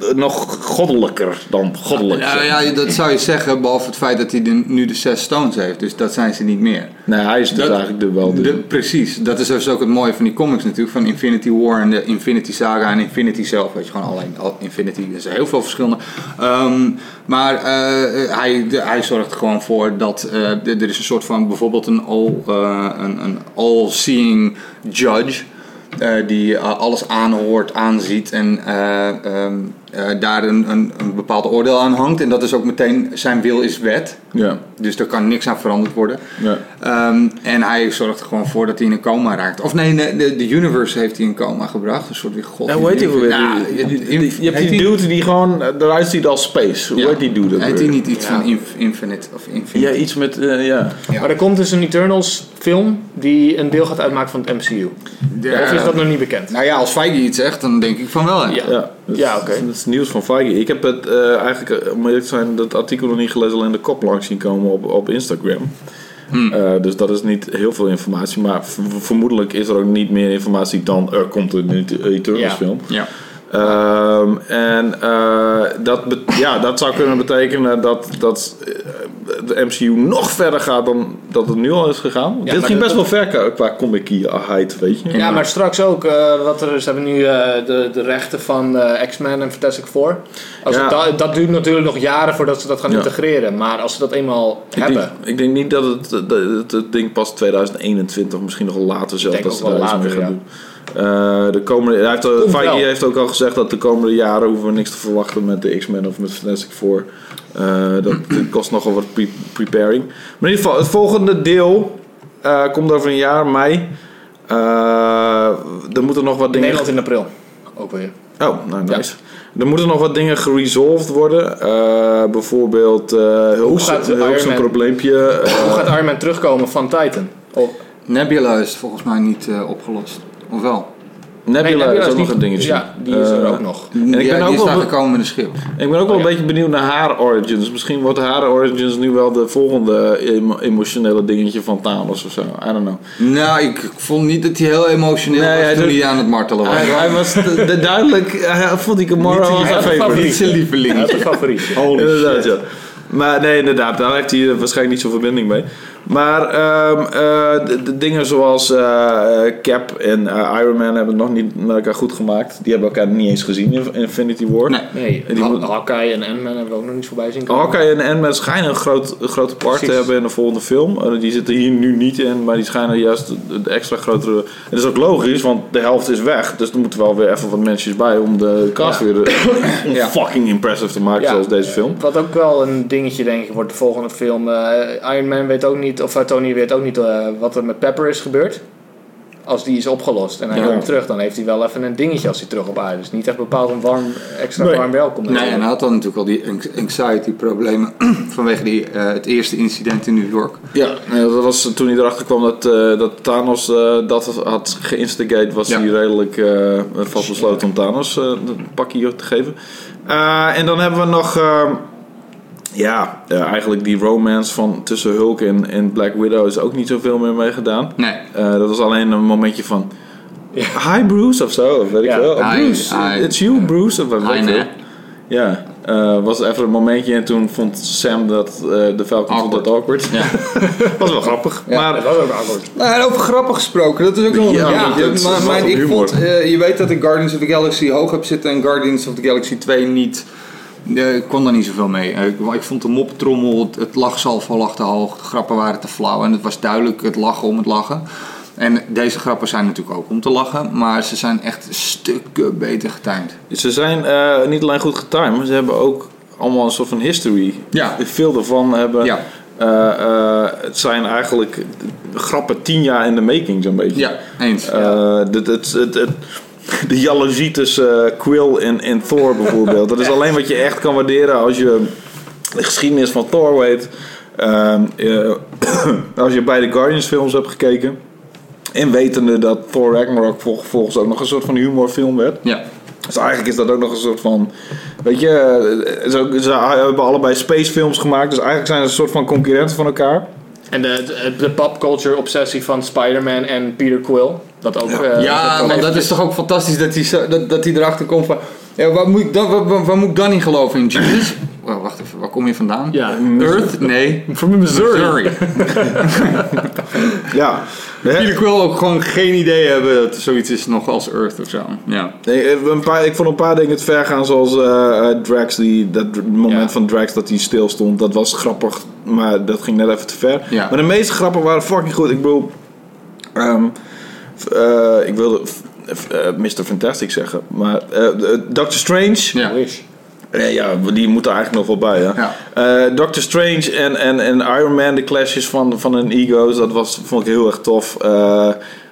Speaker 1: eh, nog goddelijker dan goddelijk.
Speaker 3: Nou ja, dat zou je zeggen, behalve het feit dat hij de, nu de zes stones heeft. Dus dat zijn ze niet meer.
Speaker 1: nee, hij is dus
Speaker 3: Dat-
Speaker 1: eigenlijk de wel.
Speaker 3: De- precies, dat is dus ook het mooie van die comics natuurlijk. Van Infinity War en de Infinity Saga en Infinity zelf. Weet je, gewoon alleen al- Infinity, er zijn heel veel verschillende. Ehm, maar eh, hij, de- hij zorgt er gewoon voor dat eh, d- er is een soort van bijvoorbeeld een, all, eh, een, een all-seeing judge. eh, die eh, alles aanhoort, aanziet en eh, ehm, eh, daar een, een, een bepaald oordeel aan hangt. En dat is ook meteen zijn wil is wet.
Speaker 1: Ja,
Speaker 3: Dus daar kan niks aan veranderd worden.
Speaker 1: ja.
Speaker 3: Ehm, en hij zorgt er gewoon voor dat hij in een coma raakt. Of nee, nee, de, de universe heeft hij in een coma gebracht. Een soort die god.
Speaker 1: Nou, hoe heet die ook alweer?
Speaker 3: Ja,
Speaker 1: Die- die-
Speaker 3: in-
Speaker 1: die- Je hebt
Speaker 3: heet
Speaker 1: die dude die gewoon eh, eruit ziet als space. Hoe
Speaker 3: Ja.
Speaker 1: heet die dude ook
Speaker 3: Heet
Speaker 1: weer?
Speaker 3: hij niet iets
Speaker 2: Ja.
Speaker 3: van inf- Infinite of Infinite?
Speaker 1: Ja, iets met... eh, ja.
Speaker 3: Ja.
Speaker 2: Maar er komt dus een Eternals film die een deel gaat uitmaken van het MCU.
Speaker 3: Ja.
Speaker 2: Of is dat nog niet bekend?
Speaker 3: Nou ja, als Feige iets zegt, dan denk ik van wel. hè.
Speaker 2: Ja.
Speaker 1: Ja, dat,
Speaker 2: Ja,
Speaker 1: is-
Speaker 2: oké.
Speaker 1: dat is nieuws van Feige. Ik heb het eh, eigenlijk, eh, om eerlijk te zijn, dat artikel nog niet gelezen, alleen de kop langs zien komen op, op Instagram.
Speaker 2: Hmm.
Speaker 1: Eh, dus dat is niet heel veel informatie, maar v- vermoedelijk is er ook niet meer informatie dan er komt een Et- Eternals
Speaker 2: Ja.
Speaker 1: film.
Speaker 3: Ja.
Speaker 1: Ehm, en eh, dat, bet- ja, dat zou kunnen betekenen dat, dat eh, de MCU nog verder gaat dan dat het nu al is gegaan. Dit
Speaker 2: maar
Speaker 1: ging best
Speaker 2: dat-
Speaker 1: wel ver qua- qua comic-heid, weet je.
Speaker 2: Ja, maar straks ook. eh, wat er, ze hebben nu eh, de, de rechten van eh, X-Men en Fantastic Four. Als
Speaker 1: Ja.
Speaker 2: het da- dat duurt natuurlijk nog jaren voordat ze dat gaan
Speaker 1: Ja.
Speaker 2: integreren. Maar als ze dat eenmaal
Speaker 1: Ik denk,
Speaker 2: hebben.
Speaker 1: ik denk niet dat het, dat het, het ding pas 2021, misschien nog later zelfs,
Speaker 2: denk
Speaker 1: dat
Speaker 2: ook
Speaker 1: ze
Speaker 2: wel
Speaker 1: daar iets mee
Speaker 2: later,
Speaker 1: gaan
Speaker 2: ja.
Speaker 1: doen. Eh, de komende, hij heeft, eh,
Speaker 2: Komt wel.
Speaker 1: Feige heeft ook al gezegd dat de komende jaren hoeven we niks te verwachten met de X-Men of met Fantastic Four. Eh, dat
Speaker 2: [CLEARS THROAT]
Speaker 1: dat kost nogal wat pre- preparing. Maar in ieder geval, het volgende deel eh, komt over een jaar, mei. Eh er moeten nog wat
Speaker 2: In
Speaker 1: dingen...
Speaker 2: Nederland in april. Ook weer.
Speaker 1: Oh, nou nice. Er moeten nog wat dingen geresolved worden. Eh, bijvoorbeeld eh Hulk
Speaker 2: gaat Iron
Speaker 1: Hulk zijn
Speaker 2: Man-
Speaker 1: probleempje. eh,
Speaker 2: Hoe gaat Iron Man terugkomen van Titan? Oh,
Speaker 3: Nebula is volgens mij niet eh, opgelost. Of wel?
Speaker 1: Nebula,
Speaker 2: nee,
Speaker 1: is ook nog
Speaker 2: niet-
Speaker 1: een dingetje.
Speaker 2: Ja, die is er
Speaker 1: Eh,
Speaker 2: ook nog.
Speaker 3: En
Speaker 1: ik ben ook
Speaker 3: die is
Speaker 1: wel
Speaker 3: daar
Speaker 1: be-
Speaker 3: gekomen met een schip.
Speaker 1: Ik ben ook wel
Speaker 2: Oh,
Speaker 1: een
Speaker 2: ja.
Speaker 1: beetje benieuwd naar haar origins. Misschien wordt haar origins nu wel de volgende emo- emotionele dingetje van Thanos of zo. I don't know.
Speaker 3: Nou, ik vond niet dat hij heel emotioneel
Speaker 1: Nee, hij
Speaker 3: was toen
Speaker 1: doet-
Speaker 3: hij aan het martelen was.
Speaker 1: Hij, hij was de, de- duidelijk... Hij vond die Gamora
Speaker 2: Niet-
Speaker 1: als
Speaker 2: hij
Speaker 1: zijn
Speaker 2: had een
Speaker 1: favorite.
Speaker 2: favoriet.
Speaker 3: niet [LAUGHS] zijn lieveling.
Speaker 2: Dat is een
Speaker 1: [LAUGHS] Oh.
Speaker 2: favoriet.
Speaker 1: inderdaad, ja. Maar nee, inderdaad, daar heeft hij eh, waarschijnlijk niet zo'n verbinding mee. Maar ehm, eh, de, de dingen zoals eh, eh, Cap en eh, Iron Man hebben het nog niet met elkaar goed gemaakt. Die hebben elkaar niet eens gezien in Infinity War.
Speaker 3: Nee.
Speaker 2: Nee,
Speaker 1: Die
Speaker 2: Ha-
Speaker 1: moet-
Speaker 2: Hawkeye en Ant-Man hebben we ook nog niet voorbij zien komen.
Speaker 1: Hawkeye en Ant-Man schijnen een, groot, een grote part te
Speaker 2: Precies.
Speaker 1: hebben in de volgende film. Eh, die zitten hier nu niet in, maar die schijnen juist de, de extra grotere... En dat is ook logisch, want de helft is weg. Dus er moeten wel weer even wat mensen bij om de cast
Speaker 2: Ja.
Speaker 1: weer
Speaker 2: [COUGHS]
Speaker 1: eh, [COUGHS]
Speaker 2: Ja.
Speaker 1: fucking impressive te maken
Speaker 2: Ja.
Speaker 1: zoals deze film.
Speaker 2: Wat ook wel een dingetje denk ik wordt de volgende film. Eh, Iron Man weet ook niet, of eh, Tony weet ook niet eh, wat er met Pepper is gebeurd. Als die is opgelost en hij
Speaker 1: Ja.
Speaker 2: komt terug, dan heeft hij wel even een dingetje als hij terug op aarde is. Niet echt bepaald een warm, extra
Speaker 1: Nee.
Speaker 2: warm welkom.
Speaker 3: Nee, en hij had dan natuurlijk al die anx- anxiety-problemen [CLEARS THROAT] vanwege die, eh, het eerste incident in New York.
Speaker 1: Ja, eh, dat was toen hij erachter kwam dat, eh, dat Thanos eh, dat had geïnstigate, was
Speaker 3: Ja.
Speaker 1: hij redelijk eh, vastbesloten om Thanos eh, een pakje te geven. Eh, en dan hebben we nog eh, ja, eh, eigenlijk die romance van tussen Hulk en, en Black Widow is ook niet zoveel meer mee gedaan.
Speaker 3: Nee.
Speaker 1: Eh, dat was alleen een momentje van hi Bruce of zo, of weet ik
Speaker 2: Ja.
Speaker 1: wel. Oh,
Speaker 3: Hi,
Speaker 1: Bruce,
Speaker 3: hi.
Speaker 1: it's you Bruce. Of, wat weet
Speaker 3: Hi,
Speaker 1: ik veel.
Speaker 3: Nat.
Speaker 1: Ja, eh, was even een momentje en toen vond Sam dat eh, de Falcon vond dat awkward. [LAUGHS]
Speaker 3: Ja.
Speaker 1: was wel grappig.
Speaker 2: dat
Speaker 1: Maar
Speaker 2: was ook awkward.
Speaker 3: Nou, en over grappig gesproken, dat is ook nog
Speaker 1: Ja,
Speaker 3: een
Speaker 1: dat is
Speaker 3: Maar,
Speaker 1: wat
Speaker 3: maar
Speaker 1: van
Speaker 3: ik
Speaker 1: humor.
Speaker 3: vond, eh, je weet dat ik Guardians of the Galaxy hoog heb zitten en Guardians of the Galaxy 2 niet. Eh, ik kon daar niet zoveel mee. Eh, ik, ik vond de moptrommel, het, het lachsalvo lag te hoog, de grappen waren te flauw en het was duidelijk het lachen om het lachen. En deze grappen zijn natuurlijk ook om te lachen, maar ze zijn echt stukken beter getimed.
Speaker 1: ze zijn eh, niet alleen goed getimed, maar ze hebben ook allemaal een soort van history.
Speaker 3: Ja.
Speaker 1: Veel daarvan hebben.
Speaker 3: Ja.
Speaker 1: eh, eh, het zijn eigenlijk grappen tien jaar in de making, zo'n beetje.
Speaker 3: Ja, eens.
Speaker 1: Eh, dit- het- het- het- [LAUGHS] de jaloezie tussen eh, Quill en, en Thor bijvoorbeeld.
Speaker 3: [LAUGHS]
Speaker 1: Dat is alleen wat je echt kan waarderen als je de geschiedenis van Thor weet. Ehm, eh, [COUGHS] als je beide Guardians films hebt gekeken. En wetende dat Thor Ragnarok vol- volgens ook nog een soort van humorfilm werd.
Speaker 3: Ja.
Speaker 1: Dus eigenlijk is dat ook nog een soort van. Weet je, eh, ze, ook- ze hebben allebei spacefilms gemaakt. Dus eigenlijk zijn ze een soort van concurrenten van elkaar.
Speaker 2: En de, de, de popculture obsessie van Spider-Man en Peter Quill. Dat ook. eh,
Speaker 3: ja,
Speaker 2: ook
Speaker 3: want dat
Speaker 2: even-
Speaker 3: is toch ook fantastisch dat hij, zo- dat, dat hij erachter komt van... Ja, waar, moet ik dan, waar, waar- waar moet ik dan in geloven? In Jesus? [CLEARS THROAT] Wel, Oh, wacht even, waar kom je vandaan?
Speaker 2: Ja.
Speaker 3: Earth? Nee.
Speaker 1: From
Speaker 3: Missouri.
Speaker 1: Ja. Hè?
Speaker 3: Jullie wil ook gewoon geen idee hebben dat er zoiets is nog als Earth of zo. Ja.
Speaker 1: Nee, eh, een paar, ik vond een paar dingen het ver gaan, zoals eh, eh, Drax, die, dat dr- moment
Speaker 2: Ja.
Speaker 1: van Drax dat hij stil stond. Dat was grappig, maar dat ging net even te ver.
Speaker 3: Ja.
Speaker 1: Maar de meeste grappen waren fucking goed. Ik bedoel, ehm, f- eh, ik wilde f- f- eh, Mr. Fantastic zeggen, maar eh, eh, Doctor Strange.
Speaker 3: Ja.
Speaker 2: Wish.
Speaker 1: Nee, ja, die moet er eigenlijk nog wel bij. Hè?
Speaker 3: Ja.
Speaker 1: Eh, Doctor Strange en, en, en Iron Man, de clashes van, van hun ego's, dat was, vond ik heel erg tof. Eh,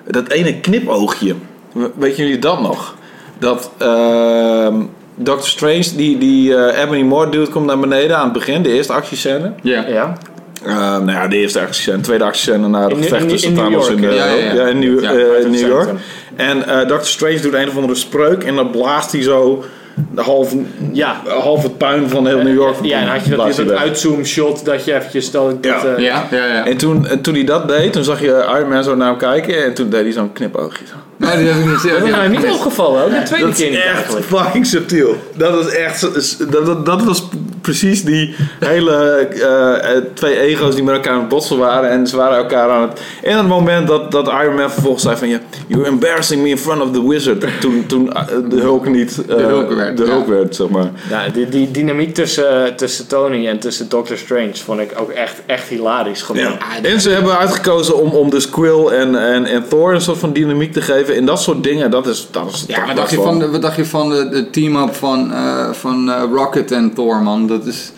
Speaker 1: dat ene knipoogje, we- weten jullie dat nog? Dat ehm, Doctor Strange, die, die eh Ebony Moore dude, komt naar beneden aan het begin, de eerste actiescène.
Speaker 3: Ja.
Speaker 2: Ja.
Speaker 1: Ehm, nou ja, de eerste actiescène, tweede actiescène na de
Speaker 2: In-
Speaker 1: gevecht
Speaker 2: in-
Speaker 1: tussen
Speaker 2: in New
Speaker 1: Thanos en
Speaker 2: York,
Speaker 1: eh,
Speaker 3: ja, ja, ja.
Speaker 1: ja, in New,
Speaker 3: Ja,
Speaker 1: eh,
Speaker 2: uit het
Speaker 1: New York.
Speaker 2: centrum.
Speaker 1: En eh, Doctor Strange doet een of andere spreuk en dan blaast hij zo half,
Speaker 2: Ja.
Speaker 1: half het puin van heel New York.
Speaker 2: Eh, Ja, en had je dat,
Speaker 1: blaast
Speaker 2: dat
Speaker 1: hij weg.
Speaker 2: uitzoom shot dat je eventjes... Dat, dat,
Speaker 1: Ja.
Speaker 2: eh,
Speaker 3: Ja, ja, ja.
Speaker 1: En toen, en toen hij dat deed, toen zag je eh, Iron Man zo naar hem kijken en toen deed hij zo'n knipoogje. zo.
Speaker 3: Nee, die heb ik niet gezien.
Speaker 2: Dat is mij niet opgevallen, ook de tweede
Speaker 1: Dat
Speaker 2: keer
Speaker 1: is
Speaker 2: niet
Speaker 1: echt
Speaker 2: eigenlijk.
Speaker 1: fucking subtiel. Dat was echt, zo- is- dat, dat, dat was precies die hele eh, eh, twee ego's die met elkaar aan het botsen waren. En ze waren elkaar aan het... En het moment dat, dat Iron Man vervolgens zei van... ja, You're embarrassing me in front of the wizard. Toen, toen eh, de Hulk niet... eh,
Speaker 3: De Hulk werd,
Speaker 1: de
Speaker 3: ja.
Speaker 1: Hulk werd, zeg maar.
Speaker 2: Ja, die, die dynamiek tussen, tussen Tony en tussen Doctor Strange vond ik ook echt, echt hilarisch. Gewoon.
Speaker 1: Ja. En ze hebben uitgekozen om, om dus Quill en, en, en Thor een soort van dynamiek te geven. En dat soort dingen, dat is... Dat is
Speaker 3: Ja,
Speaker 1: dat
Speaker 3: wat
Speaker 1: is
Speaker 3: dacht, je
Speaker 1: wel-
Speaker 3: van de, wat dacht je van de, de team-up van, eh, van eh, Rocket en Thor, man? Dat is...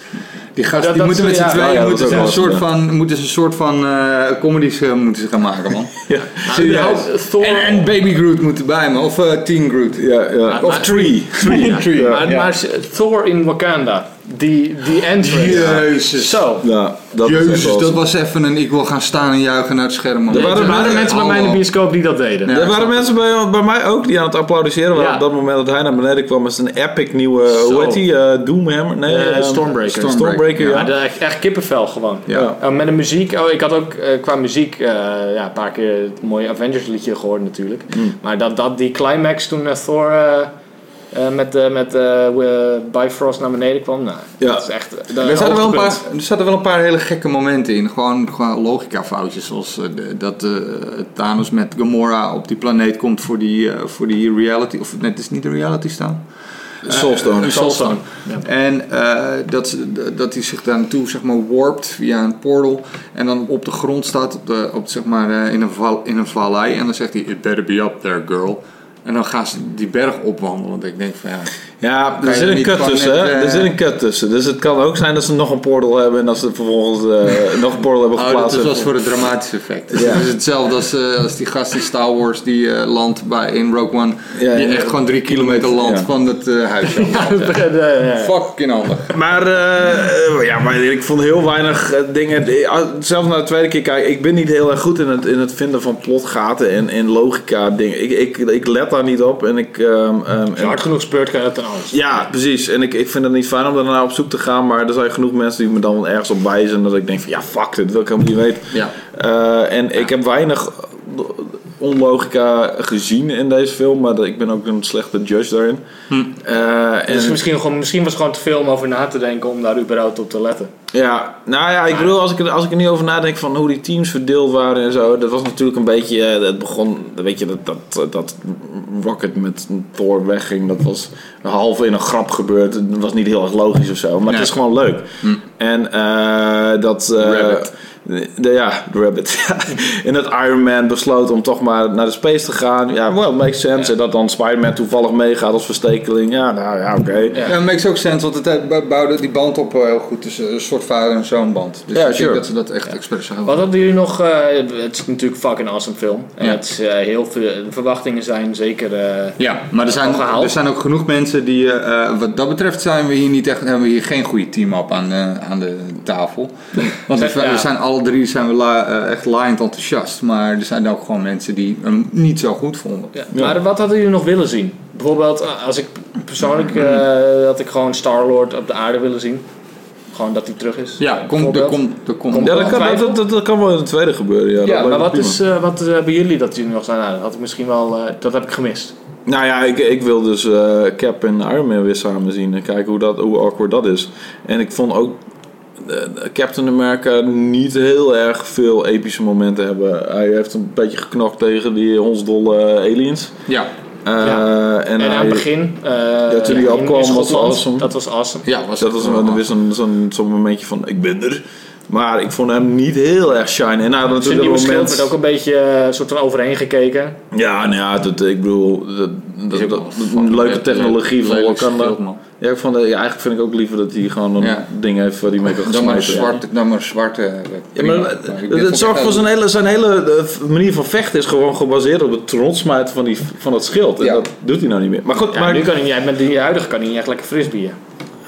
Speaker 3: Die gasten
Speaker 2: Dat-
Speaker 3: die
Speaker 2: dat
Speaker 3: moeten
Speaker 2: is-
Speaker 3: met z'n
Speaker 2: ja.
Speaker 3: tweeën
Speaker 1: Ja, ja, dat
Speaker 3: moeten
Speaker 1: is
Speaker 3: ze
Speaker 1: ook
Speaker 3: een
Speaker 1: wel
Speaker 3: soort
Speaker 1: eens,
Speaker 3: van, moeten ze een soort van eh, comedies eh, moeten ze gaan maken, man.
Speaker 1: Ja,
Speaker 3: Serieus.
Speaker 2: überhaupt, Thor-
Speaker 3: En, en Baby Groot moet erbij, man. Of eh Teen Groot.
Speaker 1: ja, ja. Of
Speaker 2: maar-
Speaker 1: Tree. Tree.
Speaker 3: Ja. Tree,
Speaker 1: Ja.
Speaker 2: Maar, maar ze- Thor in Wakanda, die, die entrance.
Speaker 3: Jezus.
Speaker 2: Zo.
Speaker 1: Ja, dat is echt
Speaker 3: Jezus,
Speaker 1: wel
Speaker 3: dat
Speaker 1: zo.
Speaker 3: was even een ik wil gaan staan en juichen naar het scherm, man.
Speaker 1: Er
Speaker 2: Er
Speaker 1: waren-
Speaker 2: waren mensen bij mij in de bioscoop die dat deden.
Speaker 3: Ja.
Speaker 1: er waren mensen bij, bij mij ook die aan het applaudisseren waren
Speaker 2: Ja.
Speaker 1: op dat moment dat hij naar beneden kwam met zijn epic nieuwe,
Speaker 2: Zo.
Speaker 1: hoe heet die, eh, Doomhammer? Nee,
Speaker 2: Eh,
Speaker 1: ehm,
Speaker 2: Stormbreaker.
Speaker 1: Stormbreaker,
Speaker 3: Stormbreaker,
Speaker 1: ja.
Speaker 2: Ja, dat echt, echt kippenvel gewoon.
Speaker 1: Ja.
Speaker 2: Eh, met de muziek, oh, ik had ook eh, qua muziek eh, ja, een paar keer het mooie Avengers liedje gehoord natuurlijk.
Speaker 3: Mm.
Speaker 2: Maar dat, dat, die climax toen eh, Thor eh, eh, met, eh, met eh, eh, Bifrost naar beneden kwam, nou,
Speaker 1: Ja.
Speaker 2: dat is echt... eh, dat-
Speaker 3: Er zaten, wel een paar,
Speaker 2: hoogtepunt.
Speaker 3: er zaten wel een paar hele gekke momenten in. Gewoon, gewoon logicafoutjes. Zoals eh, de- dat eh, Thanos met Gamora op die planeet komt voor die, eh, voor die reality. Of net is niet de reality staan. Eh,
Speaker 1: Soulstone.
Speaker 3: Een soulstone. En eh, dat, ze- dat hij zich daar naartoe zeg maar, warpt via een portal. En dan op de grond staat op de, op, zeg maar, eh, in, een val, in een vallei. En dan zegt hij: It better be up there, girl. En dan gaan ze die berg opwandelen. Want ik denk van ja.
Speaker 1: Ja, er
Speaker 3: Kan je
Speaker 1: zit een
Speaker 3: niet
Speaker 1: cut
Speaker 3: gewoon
Speaker 1: tussen, hè.
Speaker 3: net, eh,
Speaker 1: Er zit een cut tussen. Dus het kan ook zijn dat ze nog een portal hebben en dat ze vervolgens eh, nog een portal hebben
Speaker 3: Oh, dat
Speaker 1: geplaatst.
Speaker 3: is was
Speaker 1: hebben.
Speaker 3: voor het dramatische effect. Dus
Speaker 1: Ja.
Speaker 3: Het is hetzelfde als, eh, als die gast in Star Wars die eh, landt bij, in Rogue One.
Speaker 1: Ja,
Speaker 3: die
Speaker 1: ja.
Speaker 3: echt gewoon drie kilometer landt
Speaker 1: Ja.
Speaker 3: van het eh,
Speaker 1: [LAUGHS]
Speaker 3: huis.
Speaker 2: Ja, dat- dat- ja.
Speaker 3: Fucking handig.
Speaker 1: Maar, eh, eh, ja, maar ik vond heel weinig eh, dingen. eh, ah, Zelfs na de tweede keer kijken, ik ben niet heel erg goed in het, in het vinden van plotgaten en, en logica dingen. Ik, ik, ik let daar niet op en ik. ehm, ehm,
Speaker 2: Als je hard genoeg speurt, kan je dat dan anders.
Speaker 1: Ja, precies. En ik, ik vind het niet fijn om daarna op zoek te gaan. Maar er zijn genoeg mensen die me dan wel ergens op wijzen. Dat ik denk van ja, fuck dit, wil ik helemaal niet weten.
Speaker 3: Ja.
Speaker 1: Eh, en ik heb weinig onlogica gezien in deze film. Maar dat- ik ben ook een slechte judge daarin. Eh, en,
Speaker 2: Dus misschien, gewoon, misschien was het gewoon te veel om over na te denken om daar überhaupt op te letten.
Speaker 1: ja, nou ja, ik bedoel, als ik, er- als ik er nu over nadenk van hoe die teams verdeeld waren en zo, dat was natuurlijk een beetje, eh, het begon, weet je, dat, dat, eh, dat Rocket met Thor wegging, dat was half in een grap gebeurd, dat was niet heel erg logisch of zo, maar
Speaker 3: Nee.
Speaker 1: het is gewoon leuk. En eh, dat... eh,
Speaker 3: Rabbit.
Speaker 1: de- ja, de Rabbit. [LAUGHS] ja. en dat Iron Man besloot om toch maar naar de space te gaan. Ja, well, makes sense. En dat dan Spider-Man toevallig meegaat als verstekeling. Ja, nou ja, oké.
Speaker 3: Ja, makes ook sense, want het eh, bouwde die band op eh, heel goed tussen een soort vader en zo'n band. Dus
Speaker 1: Ja,
Speaker 3: ik
Speaker 1: sure.
Speaker 3: denk dat ze dat echt expres hebben.
Speaker 2: Wat hadden jullie nog? eh, het is natuurlijk fucking awesome film. En
Speaker 3: Ja.
Speaker 2: het is, eh, heel veel, de verwachtingen zijn zeker. eh,
Speaker 3: Ja, maar er zijn,
Speaker 2: Opgehaald.
Speaker 3: er zijn ook genoeg mensen die, eh, eh, wat dat betreft, zijn we hier niet echt, hebben we hier geen goede team-up aan, de- aan de [LAUGHS] tafel. Want we,
Speaker 2: Ja.
Speaker 3: we zijn alle drie zijn we la- eh, echt laaiend enthousiast, maar er zijn ook gewoon mensen die hem niet zo goed vonden.
Speaker 2: ja. Maar wat hadden jullie nog willen zien? Bijvoorbeeld, eh, als ik persoonlijk eh, had ik gewoon Star Lord op de aarde willen zien. Gewoon dat hij terug is.
Speaker 3: Ja, komt er
Speaker 2: bijvoorbeeld.
Speaker 3: komt, er komt.
Speaker 1: Ja, dat kan, dat, dat, dat kan wel in de tweede gebeuren. Ja, dat
Speaker 2: Ja,
Speaker 1: lijkt me
Speaker 2: maar wat,
Speaker 1: prima.
Speaker 2: is, eh, wat eh, hebben jullie dat jullie nog zijn? Nou, dat had ik misschien wel. eh, dat heb ik gemist.
Speaker 1: Nou ja, ik, ik wil dus eh, Cap en Iron Man weer samen zien en kijken hoe, dat, hoe awkward dat is. En ik vond ook eh, Captain America niet heel erg veel epische momenten hebben. Hij heeft een beetje geknokt tegen die hondsdolle aliens.
Speaker 3: Ja,
Speaker 1: Eh,
Speaker 2: Ja.
Speaker 1: En,
Speaker 2: En, aan
Speaker 1: hij,
Speaker 2: het begin. eh
Speaker 1: toen hij
Speaker 2: in-
Speaker 1: opkwam
Speaker 2: in
Speaker 1: was
Speaker 2: Schotland,
Speaker 1: awesome.
Speaker 2: Dat was awesome.
Speaker 3: ja was
Speaker 1: dat was wel weer zo'n zo'n- zo'n momentje van ik ben er. Maar ik vond hem niet heel erg shine. En nou,
Speaker 2: Zijn
Speaker 1: natuurlijk
Speaker 2: nieuwe
Speaker 1: een
Speaker 2: schild werd
Speaker 1: moment...
Speaker 2: ook een beetje eh, soort van overheen gekeken.
Speaker 1: Ja, nou ja, dat, ik bedoel, dat, dat,
Speaker 3: Is ook
Speaker 1: dat-
Speaker 3: wel
Speaker 1: dat-
Speaker 3: fucking
Speaker 1: leuke
Speaker 3: vet,
Speaker 1: technologie
Speaker 3: lelijk
Speaker 1: van
Speaker 3: schild,
Speaker 1: Wakanda.
Speaker 3: man.
Speaker 1: Ja, ik vond, dat- ja, eigenlijk vind ik ook liever dat hij gewoon een
Speaker 3: Ja.
Speaker 1: ding heeft waar hij mee kan
Speaker 3: Dan maar een
Speaker 1: smijten.
Speaker 3: zwarte, dan maar een zwarte. eh,
Speaker 1: Ja,
Speaker 3: prima.
Speaker 1: maar,
Speaker 3: Maar ik
Speaker 1: het-
Speaker 3: denk
Speaker 1: het,
Speaker 3: dat-
Speaker 1: zorgt voor zijn hele, zijn hele eh, manier van vechten is gewoon gebaseerd op het rondsmijten van, die, van dat schild. En
Speaker 3: Ja.
Speaker 1: dat doet hij nou niet meer. Maar goed,
Speaker 2: Ja,
Speaker 1: maar,
Speaker 2: nu kan hij, niet- met die huidige kan hij niet echt lekker frisbeeën.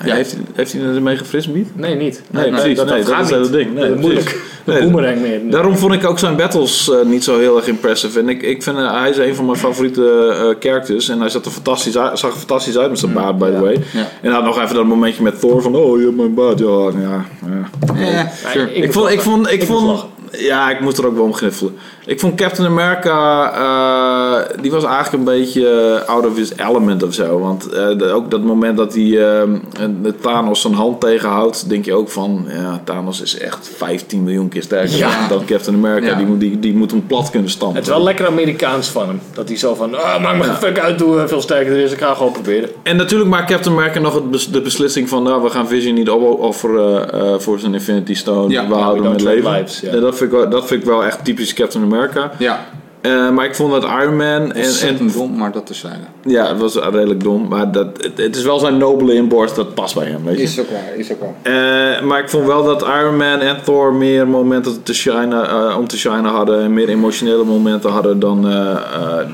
Speaker 1: Ja, heeft, hij- heeft hij ermee gefrisbeed?
Speaker 2: Nee, niet.
Speaker 1: Nee, precies.
Speaker 2: Dat,
Speaker 1: nee, dat,
Speaker 2: gaat
Speaker 1: is
Speaker 2: niet.
Speaker 1: het ding. Nee,
Speaker 2: dat is moeilijk.
Speaker 1: precies.
Speaker 2: De
Speaker 1: Nee,
Speaker 2: boomerang meer.
Speaker 1: Daarom vond ik ook zijn battles eh, niet zo heel erg impressive. En ik, ik vind, eh, hij is een van mijn favoriete eh, characters. En hij zat er fantastisch uit, zag er fantastisch uit met zijn baard, by the way.
Speaker 3: Mm. Ja.
Speaker 1: En hij had nog even dat momentje met Thor van... Oh, je hebt mijn baard. Ja, ja, ja.
Speaker 3: Ja,
Speaker 2: Maar
Speaker 3: sure.
Speaker 1: Ik,
Speaker 2: moest
Speaker 1: vond... Ik
Speaker 2: lachen.
Speaker 1: vond, ik
Speaker 2: moest
Speaker 1: vond
Speaker 2: lachen.
Speaker 1: ja, ik moest er ook wel om gniffelen. Ik vond Captain America, eh, die was eigenlijk een beetje eh, out of his element of zo. Want eh, de- ook dat moment dat hij ehm, en de Thanos zijn hand tegenhoudt, denk je ook van, ja, Thanos is echt 15 miljoen keer sterker
Speaker 2: Ja.
Speaker 1: dan Captain America.
Speaker 3: Ja.
Speaker 1: Die, moet- die, die moet hem plat kunnen stampen.
Speaker 2: Het is wel lekker Amerikaans van hem. Dat hij zo van, ah, maakt me geen fuck uit hoe eh, veel sterker er is. Ik ga gewoon proberen.
Speaker 1: En natuurlijk maakt Captain America nog het bes- de beslissing van... Nou, we gaan Vision niet opofferen eh, voor zijn Infinity Stone.
Speaker 3: Ja, nou,
Speaker 1: we houden hem
Speaker 2: don't
Speaker 1: in
Speaker 2: trade
Speaker 1: leven.
Speaker 2: lives, ja.
Speaker 1: En dat, vind ik wel, dat vind ik wel echt typisch Captain America.
Speaker 3: Ja,
Speaker 1: Eh, maar ik vond dat Iron Man... En,
Speaker 3: en,
Speaker 1: en,
Speaker 3: dom, maar dat is eh, zijn.
Speaker 1: ja, het was redelijk dom. Maar dat, het, het is wel zijn nobele inborst. Dat past bij hem, weet je.
Speaker 3: ook waar, is ook waar.
Speaker 1: Eh, maar ik vond wel dat Iron Man en Thor meer momenten te shinen, eh, om te shinen hadden. En meer emotionele momenten hadden dan, eh, eh,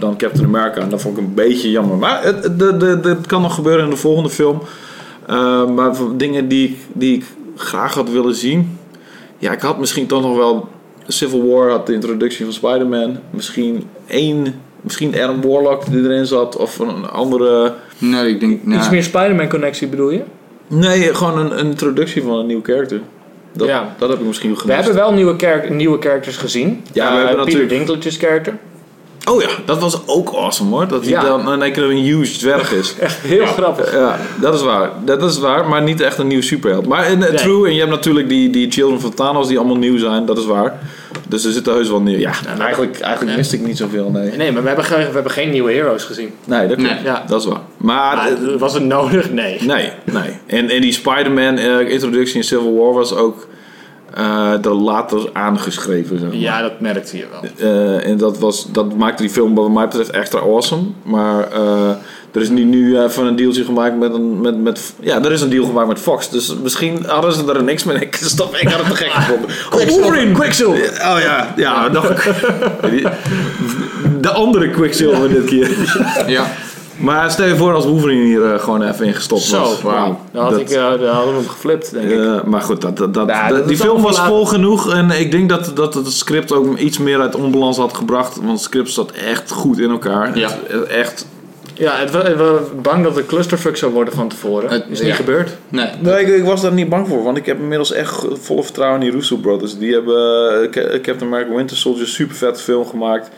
Speaker 1: dan Captain America. En dat vond ik een beetje jammer. Maar het, het- de- de- de- het kan nog gebeuren in de volgende film. Eh, maar voor dingen die, ik- die ik graag had willen zien. Ja, ik had misschien toch nog wel. Civil War had de introductie van Spider-Man. Misschien één. Misschien Adam Warlock die erin zat. Of een andere.
Speaker 3: Nee, ik denk...
Speaker 2: Iets
Speaker 3: Nou,
Speaker 2: meer Spider-Man connectie bedoel je?
Speaker 1: Nee, gewoon een, een introductie van een nieuw character. Dat,
Speaker 2: Ja.
Speaker 1: dat heb ik misschien gemist.
Speaker 2: We hebben wel nieuwe, charac- nieuwe characters gezien.
Speaker 1: Ja, we
Speaker 2: Eh,
Speaker 1: hebben
Speaker 2: Peter
Speaker 1: natuurlijk-
Speaker 2: Dinklage's character.
Speaker 1: Oh ja, dat was ook awesome hoor. Dat hij
Speaker 2: Ja.
Speaker 1: dan in één keer een huge dwerg [LAUGHS] is.
Speaker 2: Heel grappig.
Speaker 1: Ja, dat is waar. Dat is waar, maar niet echt een nieuw superheld. Maar in, eh,
Speaker 2: Nee.
Speaker 1: true, en je hebt natuurlijk die, die Children van Thanos die allemaal nieuw zijn. Dat is waar. Dus er zitten heus wel nieuw. Ja, en eigenlijk, eigenlijk wist ik niet zoveel, nee.
Speaker 2: Nee, maar we hebben, ge- we hebben geen nieuwe heroes gezien.
Speaker 1: Nee, dat klopt.
Speaker 3: Nee.
Speaker 2: Ja.
Speaker 1: Dat is waar. Maar... eh,
Speaker 2: Maar was het nodig? Nee.
Speaker 1: Nee, nee. En, en die Spider-Man-introductie in Civil War was ook eh er later aangeschreven. Zeg maar.
Speaker 2: Ja, dat merkte je wel.
Speaker 1: Eh, en dat, was, dat maakte die film wat mij betreft extra awesome. Maar eh, er is nu, nu even een dealtje gemaakt met een... Met, met, ja, er is een deal gemaakt met Fox. Dus misschien hadden ze er niks mee. [LAUGHS] Ik, stap, ik had het te gek gevonden. Oh, Wolverine!
Speaker 2: Quicksilver!
Speaker 1: Oh ja, ja. nog- die- [LAUGHS] de andere Quicksilver dit
Speaker 2: [LAUGHS]
Speaker 1: keer.
Speaker 3: ja.
Speaker 1: Maar stel je voor als Wolverine hier eh, gewoon even in gestopt was.
Speaker 2: Zo, wauw. Dan, had
Speaker 1: Dat-
Speaker 2: ik, eh, dan hadden we hem geflipt, denk ik.
Speaker 1: eh, maar goed, dat, dat, dat,
Speaker 2: Ja,
Speaker 1: dat-
Speaker 2: dat
Speaker 1: die
Speaker 2: is
Speaker 1: film
Speaker 2: allemaal
Speaker 1: was
Speaker 2: later.
Speaker 1: vol genoeg. En ik denk dat, dat het script ook iets meer uit onbalans had gebracht. Want het script zat echt goed in elkaar.
Speaker 3: Ja.
Speaker 1: Het- het- echt.
Speaker 2: Ja, het, we, we- bang dat het clusterfuck zou worden van tevoren.
Speaker 3: Het-
Speaker 2: is
Speaker 3: ja.
Speaker 2: niet gebeurd.
Speaker 3: Nee.
Speaker 1: Nee, ik, was daar niet bang voor. Want ik heb inmiddels echt vol vertrouwen in die Russo Brothers. Die hebben eh, Captain America Winter Soldier super vet film gemaakt.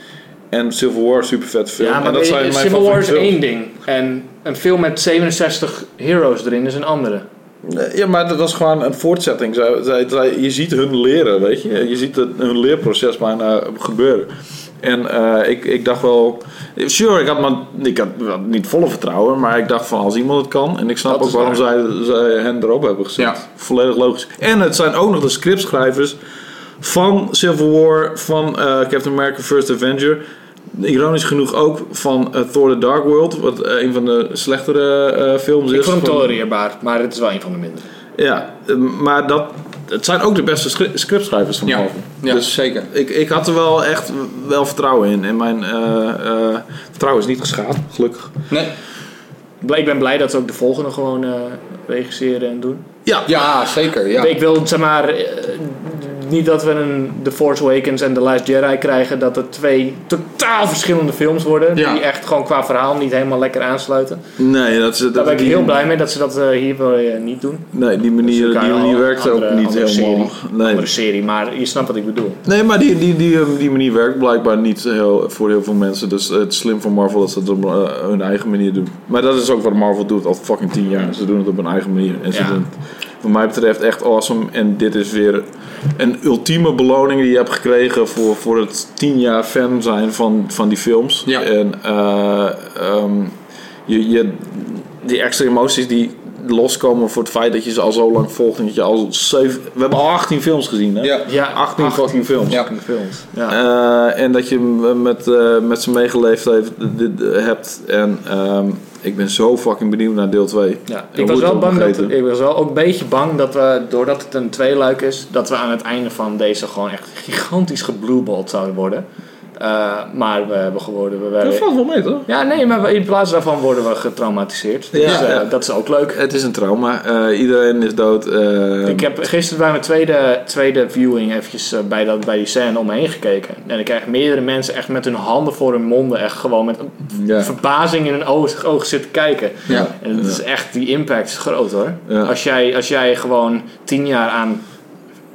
Speaker 1: En Civil War super vet film.
Speaker 2: Ja, maar weet je, Civil War is één ding. En een film met 67 heroes erin is een andere.
Speaker 1: Nee, Ja, maar dat was gewoon een voortzetting. Zij, zij, zij- je ziet hun leren, weet je. Je ziet het, hun leerproces bijna gebeuren. En eh, ik, ik dacht wel... Sure, ik had, maar, ik had wel niet volle vertrouwen. Maar ik dacht van, als iemand het kan... En ik snap
Speaker 2: Dat
Speaker 1: ook
Speaker 2: is
Speaker 1: waarom zij, zij hen erop hebben gezet.
Speaker 3: Ja.
Speaker 1: Volledig logisch. En het zijn ook nog de scriptschrijvers van Civil War... van eh, Captain America First Avenger... Ironisch genoeg ook van eh, Thor The Dark World... wat eh, een van de slechtere eh, films is.
Speaker 2: Ik vond hem
Speaker 1: van-
Speaker 2: tolereerbaar, maar het is wel een van de mindere.
Speaker 1: ja, eh, maar dat, het zijn ook de beste scri- scriptschrijvers van
Speaker 3: Ja.
Speaker 1: Marvel.
Speaker 3: Ja,
Speaker 1: Dus
Speaker 3: zeker.
Speaker 1: ik, ik had er wel echt wel vertrouwen in. En mijn eh, eh, vertrouwen is niet geschaad, gelukkig.
Speaker 3: Nee.
Speaker 2: Blij- Ik ben blij dat ze ook de volgende gewoon eh, regisseren en doen.
Speaker 1: Ja,
Speaker 3: Ja, zeker, ja.
Speaker 2: Ik wil zeg maar eh, niet dat we een The Force Awakens en The Last Jedi krijgen, dat het twee totaal verschillende films worden.
Speaker 3: Ja.
Speaker 2: Die echt gewoon qua verhaal niet helemaal lekker aansluiten.
Speaker 1: nee, dat, is- dat,
Speaker 2: Daar ben ik
Speaker 1: die,
Speaker 2: heel blij mee dat ze dat eh, hier wel eh, niet doen.
Speaker 1: Nee, die
Speaker 2: Dus
Speaker 1: manier,
Speaker 2: dan
Speaker 1: die
Speaker 2: kan je
Speaker 1: manier
Speaker 2: al
Speaker 1: werkt
Speaker 2: andere-
Speaker 1: ook niet
Speaker 2: andere
Speaker 1: helemaal. Nee.
Speaker 2: Andere serie, maar je snapt wat ik bedoel.
Speaker 1: nee, maar die, die, die, eh, die manier werkt blijkbaar niet heel, voor heel veel mensen. Dus het is slim van Marvel dat ze het op eh, hun eigen manier doen. Maar dat is ook wat Marvel doet al fucking tien jaar. Ze doen het op hun eigen manier. En ze
Speaker 2: Ja.
Speaker 1: doen het, wat mij betreft echt awesome. En dit is weer een ultieme beloning die je hebt gekregen voor, voor het tien jaar fan zijn van, van die films.
Speaker 3: Ja.
Speaker 1: En eh, ehm, je, je, die extra emoties die loskomen voor het feit dat je ze al zo lang volgt. En dat je al zeven, we hebben al 18 films gezien hè?
Speaker 3: Ja.
Speaker 2: Ja,
Speaker 1: 18 fucking films.
Speaker 3: Ja.
Speaker 2: films. Ja.
Speaker 1: Eh, en dat je m- met, eh, met ze meegeleefd heeft, dit, eh, hebt. En ehm, ik ben zo fucking benieuwd naar deel 2.
Speaker 2: Ja,
Speaker 1: hoe
Speaker 2: ik was
Speaker 1: het
Speaker 2: wel
Speaker 1: dan
Speaker 2: bang dat,
Speaker 1: vergeten.
Speaker 2: ik was wel ook een beetje bang dat we, doordat het een tweeluik is, dat we aan het einde van deze gewoon echt gigantisch geblueballed zouden worden. Eh, maar we hebben geworden, we
Speaker 1: Dat
Speaker 2: werden...
Speaker 1: valt wel mee, toch?
Speaker 2: Ja, nee, maar we- in plaats daarvan worden we getraumatiseerd. Dus
Speaker 1: Ja,
Speaker 2: eh,
Speaker 1: ja.
Speaker 2: dat is ook leuk.
Speaker 1: Het is een trauma. Eh, iedereen is dood. eh,
Speaker 2: Ik heb gisteren bij mijn tweede, tweede viewing eventjes eh, bij, dat, bij die scène omheen gekeken. En ik krijg meerdere mensen echt met hun handen voor hun monden echt gewoon met
Speaker 1: ja.
Speaker 2: verbazing in hun oog, oog zitten kijken.
Speaker 3: Ja.
Speaker 2: En het is echt, die impact is groot hoor.
Speaker 1: Ja.
Speaker 2: Als, jij, als jij gewoon tien jaar aan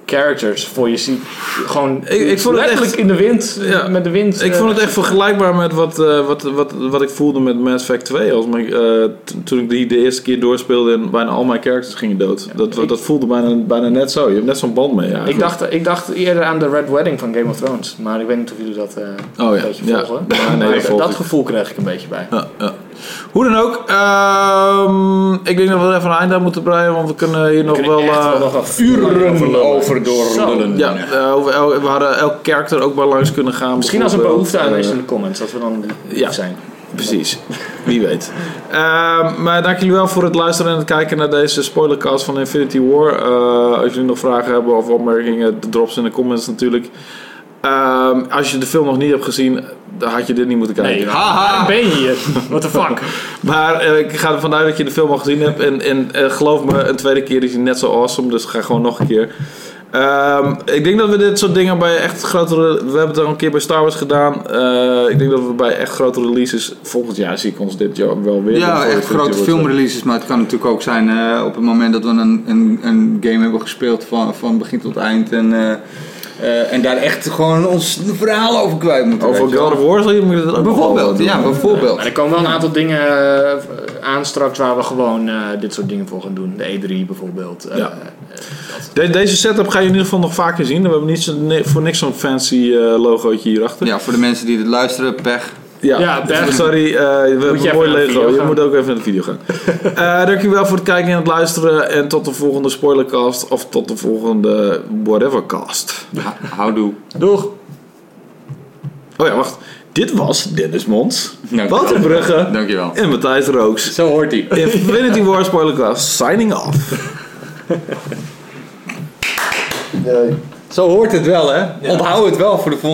Speaker 2: characters voor je ziet. Gewoon
Speaker 1: Ik- ik vond het
Speaker 2: letterlijk
Speaker 1: echt-
Speaker 2: in de wind,
Speaker 1: Ja.
Speaker 2: met de wind.
Speaker 1: Ik
Speaker 2: eh,
Speaker 1: vond het echt vergelijkbaar met wat, eh, wat, wat, wat ik voelde met Mass Effect 2. Als mijn, eh, t- toen ik die de eerste keer doorspeelde en bijna al mijn characters gingen dood. dat,
Speaker 2: ik-
Speaker 1: dat voelde bijna, bijna net zo. Je hebt net zo'n band mee. eigenlijk.
Speaker 2: Ik dacht, ik dacht eerder aan de Red Wedding van Game of Thrones, maar ik weet niet of jullie dat eh,
Speaker 1: Oh ja.
Speaker 2: een beetje
Speaker 1: Ja.
Speaker 2: volgen.
Speaker 1: Ja, [LAUGHS] nee,
Speaker 2: Maar
Speaker 1: dat
Speaker 2: dat,
Speaker 1: volg
Speaker 2: dat
Speaker 1: ik.
Speaker 2: gevoel kreeg ik een beetje bij.
Speaker 1: Ja, ja. Hoe dan ook, ehm, ik denk dat we er even een eind aan moeten breien, want we kunnen hier nog
Speaker 2: kunnen
Speaker 1: wel.
Speaker 2: echt
Speaker 1: eh,
Speaker 2: wel nog af-
Speaker 4: Uren
Speaker 2: overlullen.
Speaker 4: over doorlullen.
Speaker 1: ja, eh, over el- we hadden elk karakter ook bij langs kunnen gaan.
Speaker 2: Misschien als er
Speaker 1: bijvoorbeeld.
Speaker 2: behoefte aan
Speaker 1: Eh,
Speaker 2: is in de comments, dat we dan
Speaker 1: ja.
Speaker 2: lief zijn.
Speaker 1: Precies, wie weet. Ehm, maar dank jullie wel voor het luisteren en het kijken naar deze spoilercast van Infinity War. Eh, als jullie nog vragen hebben of opmerkingen, drop ze in de comments natuurlijk. Ehm, als je de film nog niet hebt gezien, dan had je dit niet moeten kijken.
Speaker 2: Nee, waarom ben je hier? What the fuck?
Speaker 1: Maar eh, ik ga ervan uit dat je de film al gezien hebt. En, en eh, geloof me, een tweede keer is hij net zo awesome. Dus ga gewoon nog een keer. Ehm, ik denk dat we dit soort dingen bij echt grotere... We hebben het al een keer bij Star Wars gedaan. Eh, ik denk dat we bij echt grote releases... Volgend jaar zie ik ons dit jaar wel weer. doen
Speaker 3: Ja,
Speaker 1: voor
Speaker 3: echt
Speaker 1: Infinity
Speaker 3: grote
Speaker 1: War.
Speaker 3: filmreleases, maar het kan natuurlijk ook zijn eh, op het moment dat we een, een, een game hebben gespeeld van, van begin tot eind en, eh, eh, en daar echt gewoon ons verhaal over kwijt moeten.
Speaker 1: Over
Speaker 3: weet je
Speaker 1: God
Speaker 3: wel.
Speaker 1: of War zal je moet je dat ook
Speaker 3: Bijvoorbeeld,
Speaker 1: wel
Speaker 3: ja,
Speaker 1: doen.
Speaker 3: bijvoorbeeld.
Speaker 2: [LAUGHS] Maar er komen wel een aantal dingen eh, aan straks waar we gewoon eh, dit soort dingen voor gaan doen. De E3 bijvoorbeeld. eh,
Speaker 1: Ja. De- deze setup ga je in ieder geval nog vaker zien. We hebben niet zo, nee, voor niks zo'n fancy eh, logootje hierachter.
Speaker 3: Ja, voor de mensen die dit luisteren, pech.
Speaker 1: Ja,
Speaker 2: Ja, Berg.
Speaker 1: sorry, eh, we hebben
Speaker 2: even
Speaker 1: een mooi
Speaker 2: naar de
Speaker 1: Lego.
Speaker 2: video
Speaker 1: Je
Speaker 2: gaan.
Speaker 1: moet ook even naar de video gaan. Eh dankjewel voor het kijken en het luisteren. En tot de volgende spoilercast. Of tot de volgende whatevercast.
Speaker 3: Houdoe.
Speaker 2: Doeg!
Speaker 1: Oh ja, wacht. Dit was Dennis Mons,
Speaker 3: Dank je
Speaker 1: Wouter
Speaker 3: wel.
Speaker 1: Brugge
Speaker 3: Dankjewel.
Speaker 1: en Matthijs Rooks.
Speaker 3: Zo hoort hij.
Speaker 1: Infinity War spoilercast, signing off.
Speaker 3: Zo hoort het wel, hè? Onthoud het wel voor de volgende